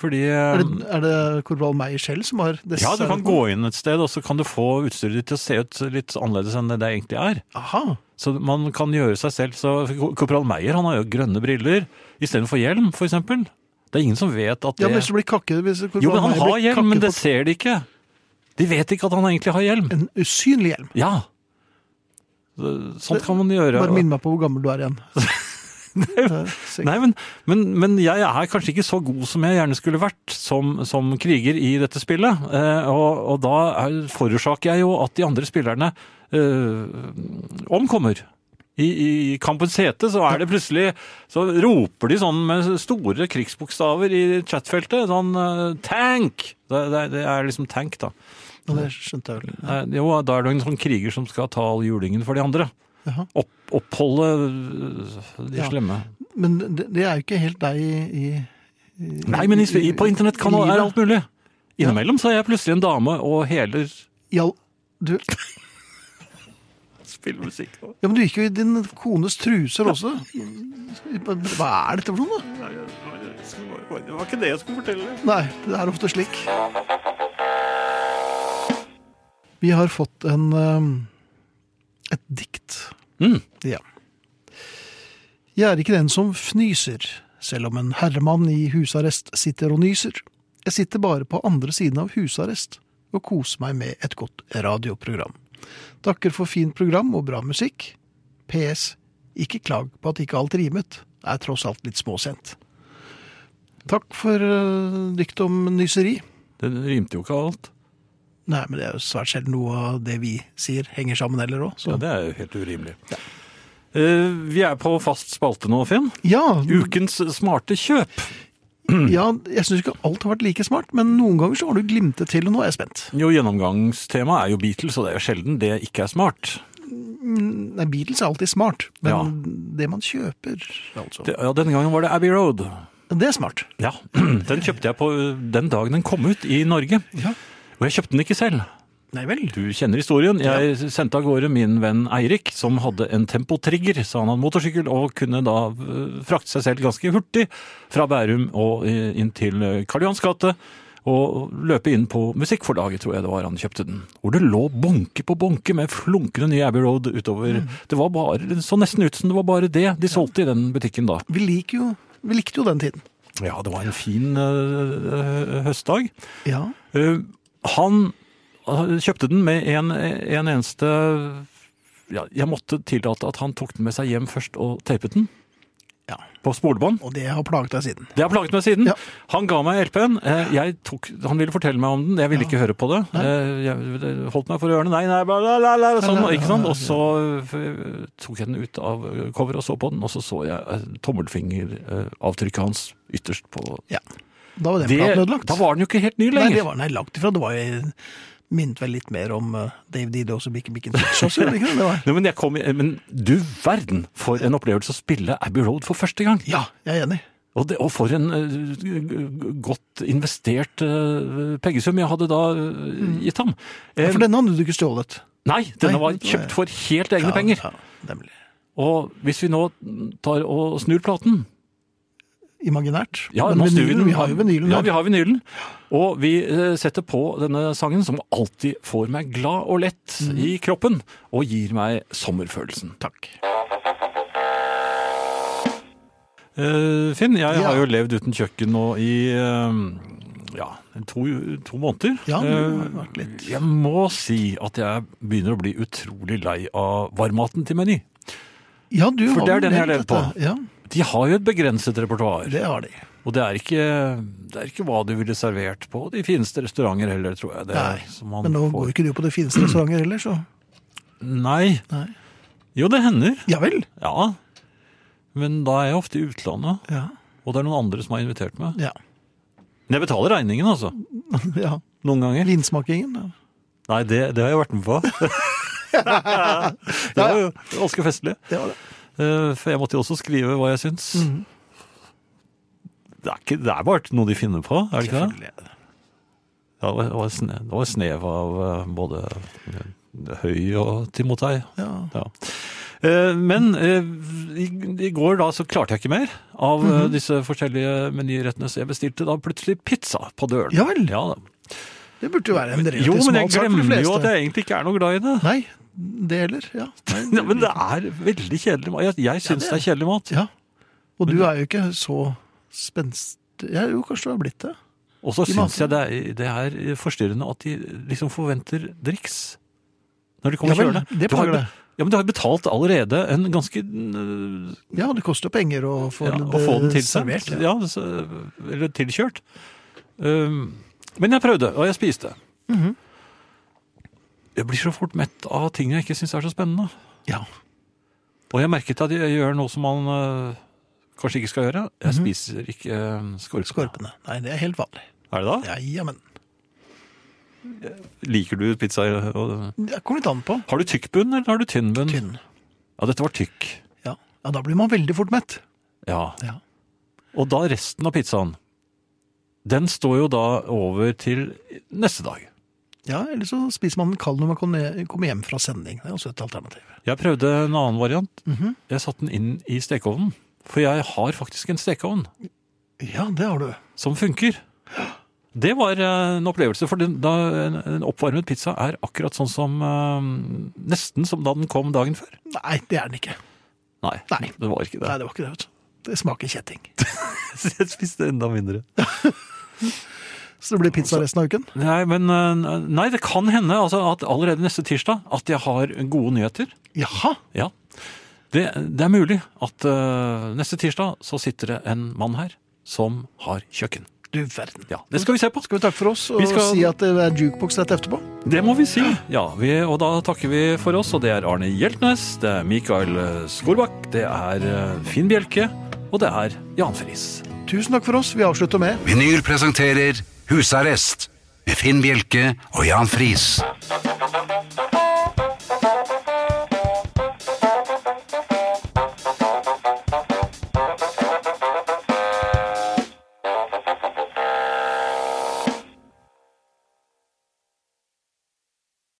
[SPEAKER 3] Fordi
[SPEAKER 2] Er
[SPEAKER 3] eh,
[SPEAKER 2] det, er det korporal Meyer selv som har det?
[SPEAKER 3] Ja, du kan gå inn et sted, og så kan du få utstyret ditt til å se ut litt annerledes enn det det egentlig er.
[SPEAKER 2] Aha.
[SPEAKER 3] Så man kan gjøre seg selv så Korporal Meyer han har jo grønne briller istedenfor hjelm, for eksempel. Det er ingen som vet at
[SPEAKER 2] Ja,
[SPEAKER 3] det
[SPEAKER 2] men så blir kakke hvis korporal
[SPEAKER 3] Jo, men han
[SPEAKER 2] Meyer
[SPEAKER 3] har
[SPEAKER 2] blir
[SPEAKER 3] hjelm,
[SPEAKER 2] kakke
[SPEAKER 3] men det
[SPEAKER 2] på
[SPEAKER 3] ser de ikke. De vet ikke at han egentlig har hjelm.
[SPEAKER 2] En usynlig hjelm.
[SPEAKER 3] Ja. Sånt kan man gjøre.
[SPEAKER 2] Bare minn meg på hvor gammel du er
[SPEAKER 3] <laughs>
[SPEAKER 2] igjen. <laughs> Eh, sikkert.
[SPEAKER 3] Nei, men, men, men jeg er kanskje ikke så god som jeg gjerne skulle vært som, som kriger i dette spillet. Eh, og, og da er, forårsaker jeg jo at de andre spillerne eh, omkommer. I, I kampens hete så er det plutselig Så roper de sånn med store krigsbokstaver i chatfeltet. Sånn eh, 'tank'! Det, det, det er liksom tank, da.
[SPEAKER 2] Ja, det skjønte jeg vel.
[SPEAKER 3] Nei, Jo, da er det en sånn kriger som skal ta all julingen for de andre.
[SPEAKER 2] Jaha.
[SPEAKER 3] Opp, oppholde øh, de
[SPEAKER 2] Ja.
[SPEAKER 3] slemme.
[SPEAKER 2] Men det, det er jo ikke helt deg i, i
[SPEAKER 3] Nei, men i, i- på internett kan det
[SPEAKER 2] livet.
[SPEAKER 3] være alt mulig. Innimellom så er jeg plutselig en dame og heler
[SPEAKER 2] i all du,
[SPEAKER 3] spillmusikk.
[SPEAKER 2] Ja, men du gikk jo i din kones truser også. Hva er dette for noe, da?
[SPEAKER 3] Det var ikke det jeg skulle fortelle.
[SPEAKER 2] Nei, det er ofte slik. Vi har fått en eh, et dikt.
[SPEAKER 3] Mm.
[SPEAKER 2] Ja. Jeg er ikke den som fnyser, selv om en herremann i husarrest sitter og nyser. Jeg sitter bare på andre siden av husarrest og koser meg med et godt radioprogram. Takker for fint program og bra musikk. PS. Ikke klag på at ikke alt rimet. Det er tross alt litt småsent. Takk for uh, diktet om nyseri.
[SPEAKER 3] Det rimte jo ikke alt.
[SPEAKER 2] Nei, men det er jo svært sjelden noe av det vi sier henger sammen heller òg.
[SPEAKER 3] Ja,
[SPEAKER 2] Ja,
[SPEAKER 3] det er jo helt urimelig. Eh, vi er på fast spalte nå, Finn.
[SPEAKER 2] ja,
[SPEAKER 3] Ukens smarte kjøp. Mm.
[SPEAKER 2] ja, jeg syns ikke alt har vært like smart, men noen ganger så har du glimtet til, og nå er jeg spent.
[SPEAKER 3] Jo, gjennomgangstema er jo Beatles, og det er jo sjelden det ikke er smart.
[SPEAKER 2] Nei, Beatles er alltid smart, men
[SPEAKER 3] Ja.
[SPEAKER 2] det man kjøper, altså.
[SPEAKER 3] Det, ja, denne gangen var det Abbey Road.
[SPEAKER 2] Det er smart.
[SPEAKER 3] Ja, <clears throat> den kjøpte jeg på eh, den dagen den kom ut i Norge.
[SPEAKER 2] Ja.
[SPEAKER 3] Og jeg kjøpte den ikke selv.
[SPEAKER 2] Nei vel.
[SPEAKER 3] Du kjenner historien. Jeg sendte av gårde min venn Eirik, som hadde en tempotrigger, så han hadde motorsykkel, og kunne da eh, frakte seg selv ganske hurtig fra Bærum og eh, inn til eh, Karl Johans gate. Og løpe inn på Musikkforlaget, tror jeg det var han kjøpte den. Hvor det lå bunke på bunke med flunkende nye Abbey Road utover. Det var bare, det så nesten ut som det var bare det de solgte i den butikken da.
[SPEAKER 2] Vi, liker jo, vi likte jo den tiden.
[SPEAKER 3] Ja, det var en fin eh, høstdag.
[SPEAKER 2] Ja.
[SPEAKER 3] Eh, han eh, kjøpte den med en, en eneste ja, Jeg måtte tillate at han tok den med seg hjem først og tapet den.
[SPEAKER 2] Ja.
[SPEAKER 3] På spolebånd.
[SPEAKER 2] Og det har plaget deg siden.
[SPEAKER 3] Det har plaget meg siden.
[SPEAKER 2] Ja.
[SPEAKER 3] Han ga meg LP-en. eh, jeg tok- Han ville fortelle meg om den. Jeg ville ikke høre på det. Eh, Jeg det holdt meg for ørene. Nei, nei, bla, bla, bla, bla, sånn, ikke sant? Og så eh, tok jeg den ut av coveret og så på den, og så så jeg eh, tommelfingeravtrykket hans ytterst på
[SPEAKER 2] Ja. Da var den
[SPEAKER 3] det,
[SPEAKER 2] platen ødelagt.
[SPEAKER 3] da var den jo ikke helt
[SPEAKER 2] Nei,
[SPEAKER 3] ny
[SPEAKER 2] det
[SPEAKER 3] lenger.
[SPEAKER 2] var nei, langt ifra. Det var jo minnet vel litt mer om eh, Dave Didos og Bikke Bikken Fitch også, gjorde det ikke det? det? var-
[SPEAKER 3] Nei, men, jeg kom, i- men du verden for en opplevelse å spille Abbey Road for første gang.
[SPEAKER 2] Ja, jeg er enig.
[SPEAKER 3] Og, det, og for en eh, g- godt investert eh, pengesum jeg hadde da eh, gitt ham. Eh,
[SPEAKER 2] Mm. For denne hadde du ikke stjålet.
[SPEAKER 3] nei, denne
[SPEAKER 2] Nei,
[SPEAKER 3] var
[SPEAKER 2] det var-
[SPEAKER 3] kjøpt for helt egne
[SPEAKER 2] Ja,
[SPEAKER 3] penger.
[SPEAKER 2] Ja, nemlig.
[SPEAKER 3] Og hvis vi nå tar og snur platen
[SPEAKER 2] Imaginært.
[SPEAKER 3] ja,
[SPEAKER 2] Men
[SPEAKER 3] nå snur vi,
[SPEAKER 2] vinylen,
[SPEAKER 3] den.
[SPEAKER 2] Vi har jo vinylen
[SPEAKER 3] Ja,
[SPEAKER 2] her.
[SPEAKER 3] vi har vinylen. Og vi eh, setter på denne sangen, som alltid får meg glad og lett
[SPEAKER 2] Mm.
[SPEAKER 3] i kroppen, og gir meg sommerfølelsen. Takk. Eh, Finn, jeg
[SPEAKER 2] Ja.
[SPEAKER 3] har jo levd uten kjøkken nå i eh, ja, to, to måneder.
[SPEAKER 2] Ja, det har
[SPEAKER 3] Eh,
[SPEAKER 2] vært litt-
[SPEAKER 3] Jeg må si at jeg begynner å bli utrolig lei av varmmaten til Meny.
[SPEAKER 2] Ja, du
[SPEAKER 3] For
[SPEAKER 2] har
[SPEAKER 3] det
[SPEAKER 2] vel
[SPEAKER 3] er den jeg har levd
[SPEAKER 2] dette.
[SPEAKER 3] på.
[SPEAKER 2] Ja,
[SPEAKER 3] De har jo et begrenset repertoar.
[SPEAKER 2] det har de.
[SPEAKER 3] Og det er, ikke, det er ikke hva du ville servert på de fineste restauranter heller, tror jeg. Det er
[SPEAKER 2] Nei,
[SPEAKER 3] som man
[SPEAKER 2] Men nå
[SPEAKER 3] får.
[SPEAKER 2] går ikke du på de fineste restauranter heller, så
[SPEAKER 3] Nei.
[SPEAKER 2] Nei.
[SPEAKER 3] Jo, det hender.
[SPEAKER 2] Ja vel.
[SPEAKER 3] Ja. Men da er jeg ofte i utlandet,
[SPEAKER 2] Ja.
[SPEAKER 3] og det er noen andre som har invitert meg.
[SPEAKER 2] Ja. <laughs>
[SPEAKER 3] Men jeg betaler regningen, altså.
[SPEAKER 2] ja.
[SPEAKER 3] Noen ganger.
[SPEAKER 2] Vinsmakingen. Ja.
[SPEAKER 3] Nei, det, det har jeg vært
[SPEAKER 2] <laughs>
[SPEAKER 3] med på. det var jo ganske festlig.
[SPEAKER 2] Det var det. Mhm.
[SPEAKER 3] Eh, For jeg måtte jo også skrive hva jeg syns. Det, er ikke, det er bare noe de finner på, er det ikke det? Ja, det var- det var, sne, det var snev av eh, både eh, Høy og Timotei.
[SPEAKER 2] Ja.
[SPEAKER 3] Ja. Eh, Men eh, i, i går da så klarte jeg ikke mer av eh,
[SPEAKER 2] Mhm.
[SPEAKER 3] disse forskjellige menyrettene, så jeg bestilte da plutselig pizza på døren.
[SPEAKER 2] Ja vel.
[SPEAKER 3] Ja, da.
[SPEAKER 2] Det burde jo være en relativt
[SPEAKER 3] jo, men jeg
[SPEAKER 2] smal sak for de
[SPEAKER 3] glemmer
[SPEAKER 2] fleste.
[SPEAKER 3] jo at jeg egentlig ikke er noe glad i det.
[SPEAKER 2] Nei, det heller. Ja. Nei,
[SPEAKER 3] Ja, men det er veldig kjedelig mat. Jeg, jeg syns det er kjedelig mat.
[SPEAKER 2] ja. Og du er jo ikke så spenstig ja, Jo, kanskje du har blitt det.
[SPEAKER 3] Og så
[SPEAKER 2] I
[SPEAKER 3] syns jeg
[SPEAKER 2] maten.
[SPEAKER 3] det er, det er forstyrrende at de liksom forventer driks når de kommer
[SPEAKER 2] Ja vel,
[SPEAKER 3] kjørende.
[SPEAKER 2] det
[SPEAKER 3] Du har
[SPEAKER 2] plager
[SPEAKER 3] be-
[SPEAKER 2] deg.
[SPEAKER 3] Ja, men du har betalt allerede en ganske øh,
[SPEAKER 2] Ja, det koster jo penger å få,
[SPEAKER 3] ja,
[SPEAKER 2] det
[SPEAKER 3] Å få den
[SPEAKER 2] servert,
[SPEAKER 3] tilsendt.
[SPEAKER 2] ja.
[SPEAKER 3] Ja, så- eller tilkjørt. Um, men jeg prøvde, og jeg spiste.
[SPEAKER 2] Mhm.
[SPEAKER 3] Jeg blir så fort mett av ting jeg ikke syns er så spennende.
[SPEAKER 2] Ja.
[SPEAKER 3] Og jeg merket at jeg gjør noe som man øh, kanskje ikke skal gjøre.
[SPEAKER 2] Mhm.
[SPEAKER 3] Jeg spiser ikke øh, skorpe.
[SPEAKER 2] Skorpene. Nei, det er helt vanlig.
[SPEAKER 3] Er det da?
[SPEAKER 2] Ja, ja, men
[SPEAKER 3] Liker du pizza? og-
[SPEAKER 2] Det kommer litt an på.
[SPEAKER 3] Har du tykk bunn, eller har du tynn bunn?
[SPEAKER 2] Tynn.
[SPEAKER 3] Ja, dette var tykk.
[SPEAKER 2] Ja. ja, da blir man veldig fort mett.
[SPEAKER 3] Ja.
[SPEAKER 2] Ja.
[SPEAKER 3] Og da resten av pizzaen, den står jo da over til neste dag.
[SPEAKER 2] Ja, Eller så spiser man den kald når man kommer ned- kommer hjem fra sending. Det er også et alternativ.
[SPEAKER 3] Jeg prøvde en annen variant.
[SPEAKER 2] Mhm.
[SPEAKER 3] Jeg satte den inn i stekeovnen. For jeg har faktisk en stekeovn
[SPEAKER 2] Ja, det har du.
[SPEAKER 3] som funker. Det var eh, en opplevelse, for den, da, en, en oppvarmet pizza er akkurat sånn som eh, Nesten som da den kom dagen før.
[SPEAKER 2] Nei, det er den ikke.
[SPEAKER 3] Nei,
[SPEAKER 2] Nei.
[SPEAKER 3] det var ikke
[SPEAKER 2] Nei,
[SPEAKER 3] det.
[SPEAKER 2] det var ikke det. vet du. Det smaker kjetting.
[SPEAKER 3] <laughs> Jeg spiste enda mindre.
[SPEAKER 2] Så det blir pizza resten av uken?
[SPEAKER 3] Nei, men eh, nei, det kan hende altså, at allerede neste tirsdag at jeg har gode nyheter.
[SPEAKER 2] Jaha!
[SPEAKER 3] Ja. Det, det er mulig at eh, neste tirsdag så sitter det en mann her som har kjøkken.
[SPEAKER 2] Du verden.
[SPEAKER 3] Ja, Det skal vi se på.
[SPEAKER 2] Skal vi takke for oss og
[SPEAKER 3] Vi skal-
[SPEAKER 2] si at det er jukebox rett etterpå?
[SPEAKER 3] Det må vi si. Ja, vi, Og da takker vi for oss. Og det er Arne Hjeltnes, det er Mikael eh, Skorbakk, det er eh, Finn Bjelke, og det er Jan Friis.
[SPEAKER 2] Tusen takk for oss. Vi avslutter med
[SPEAKER 1] Vinyl presenterer Husarrest med Finn Bjelke og Jan Friis.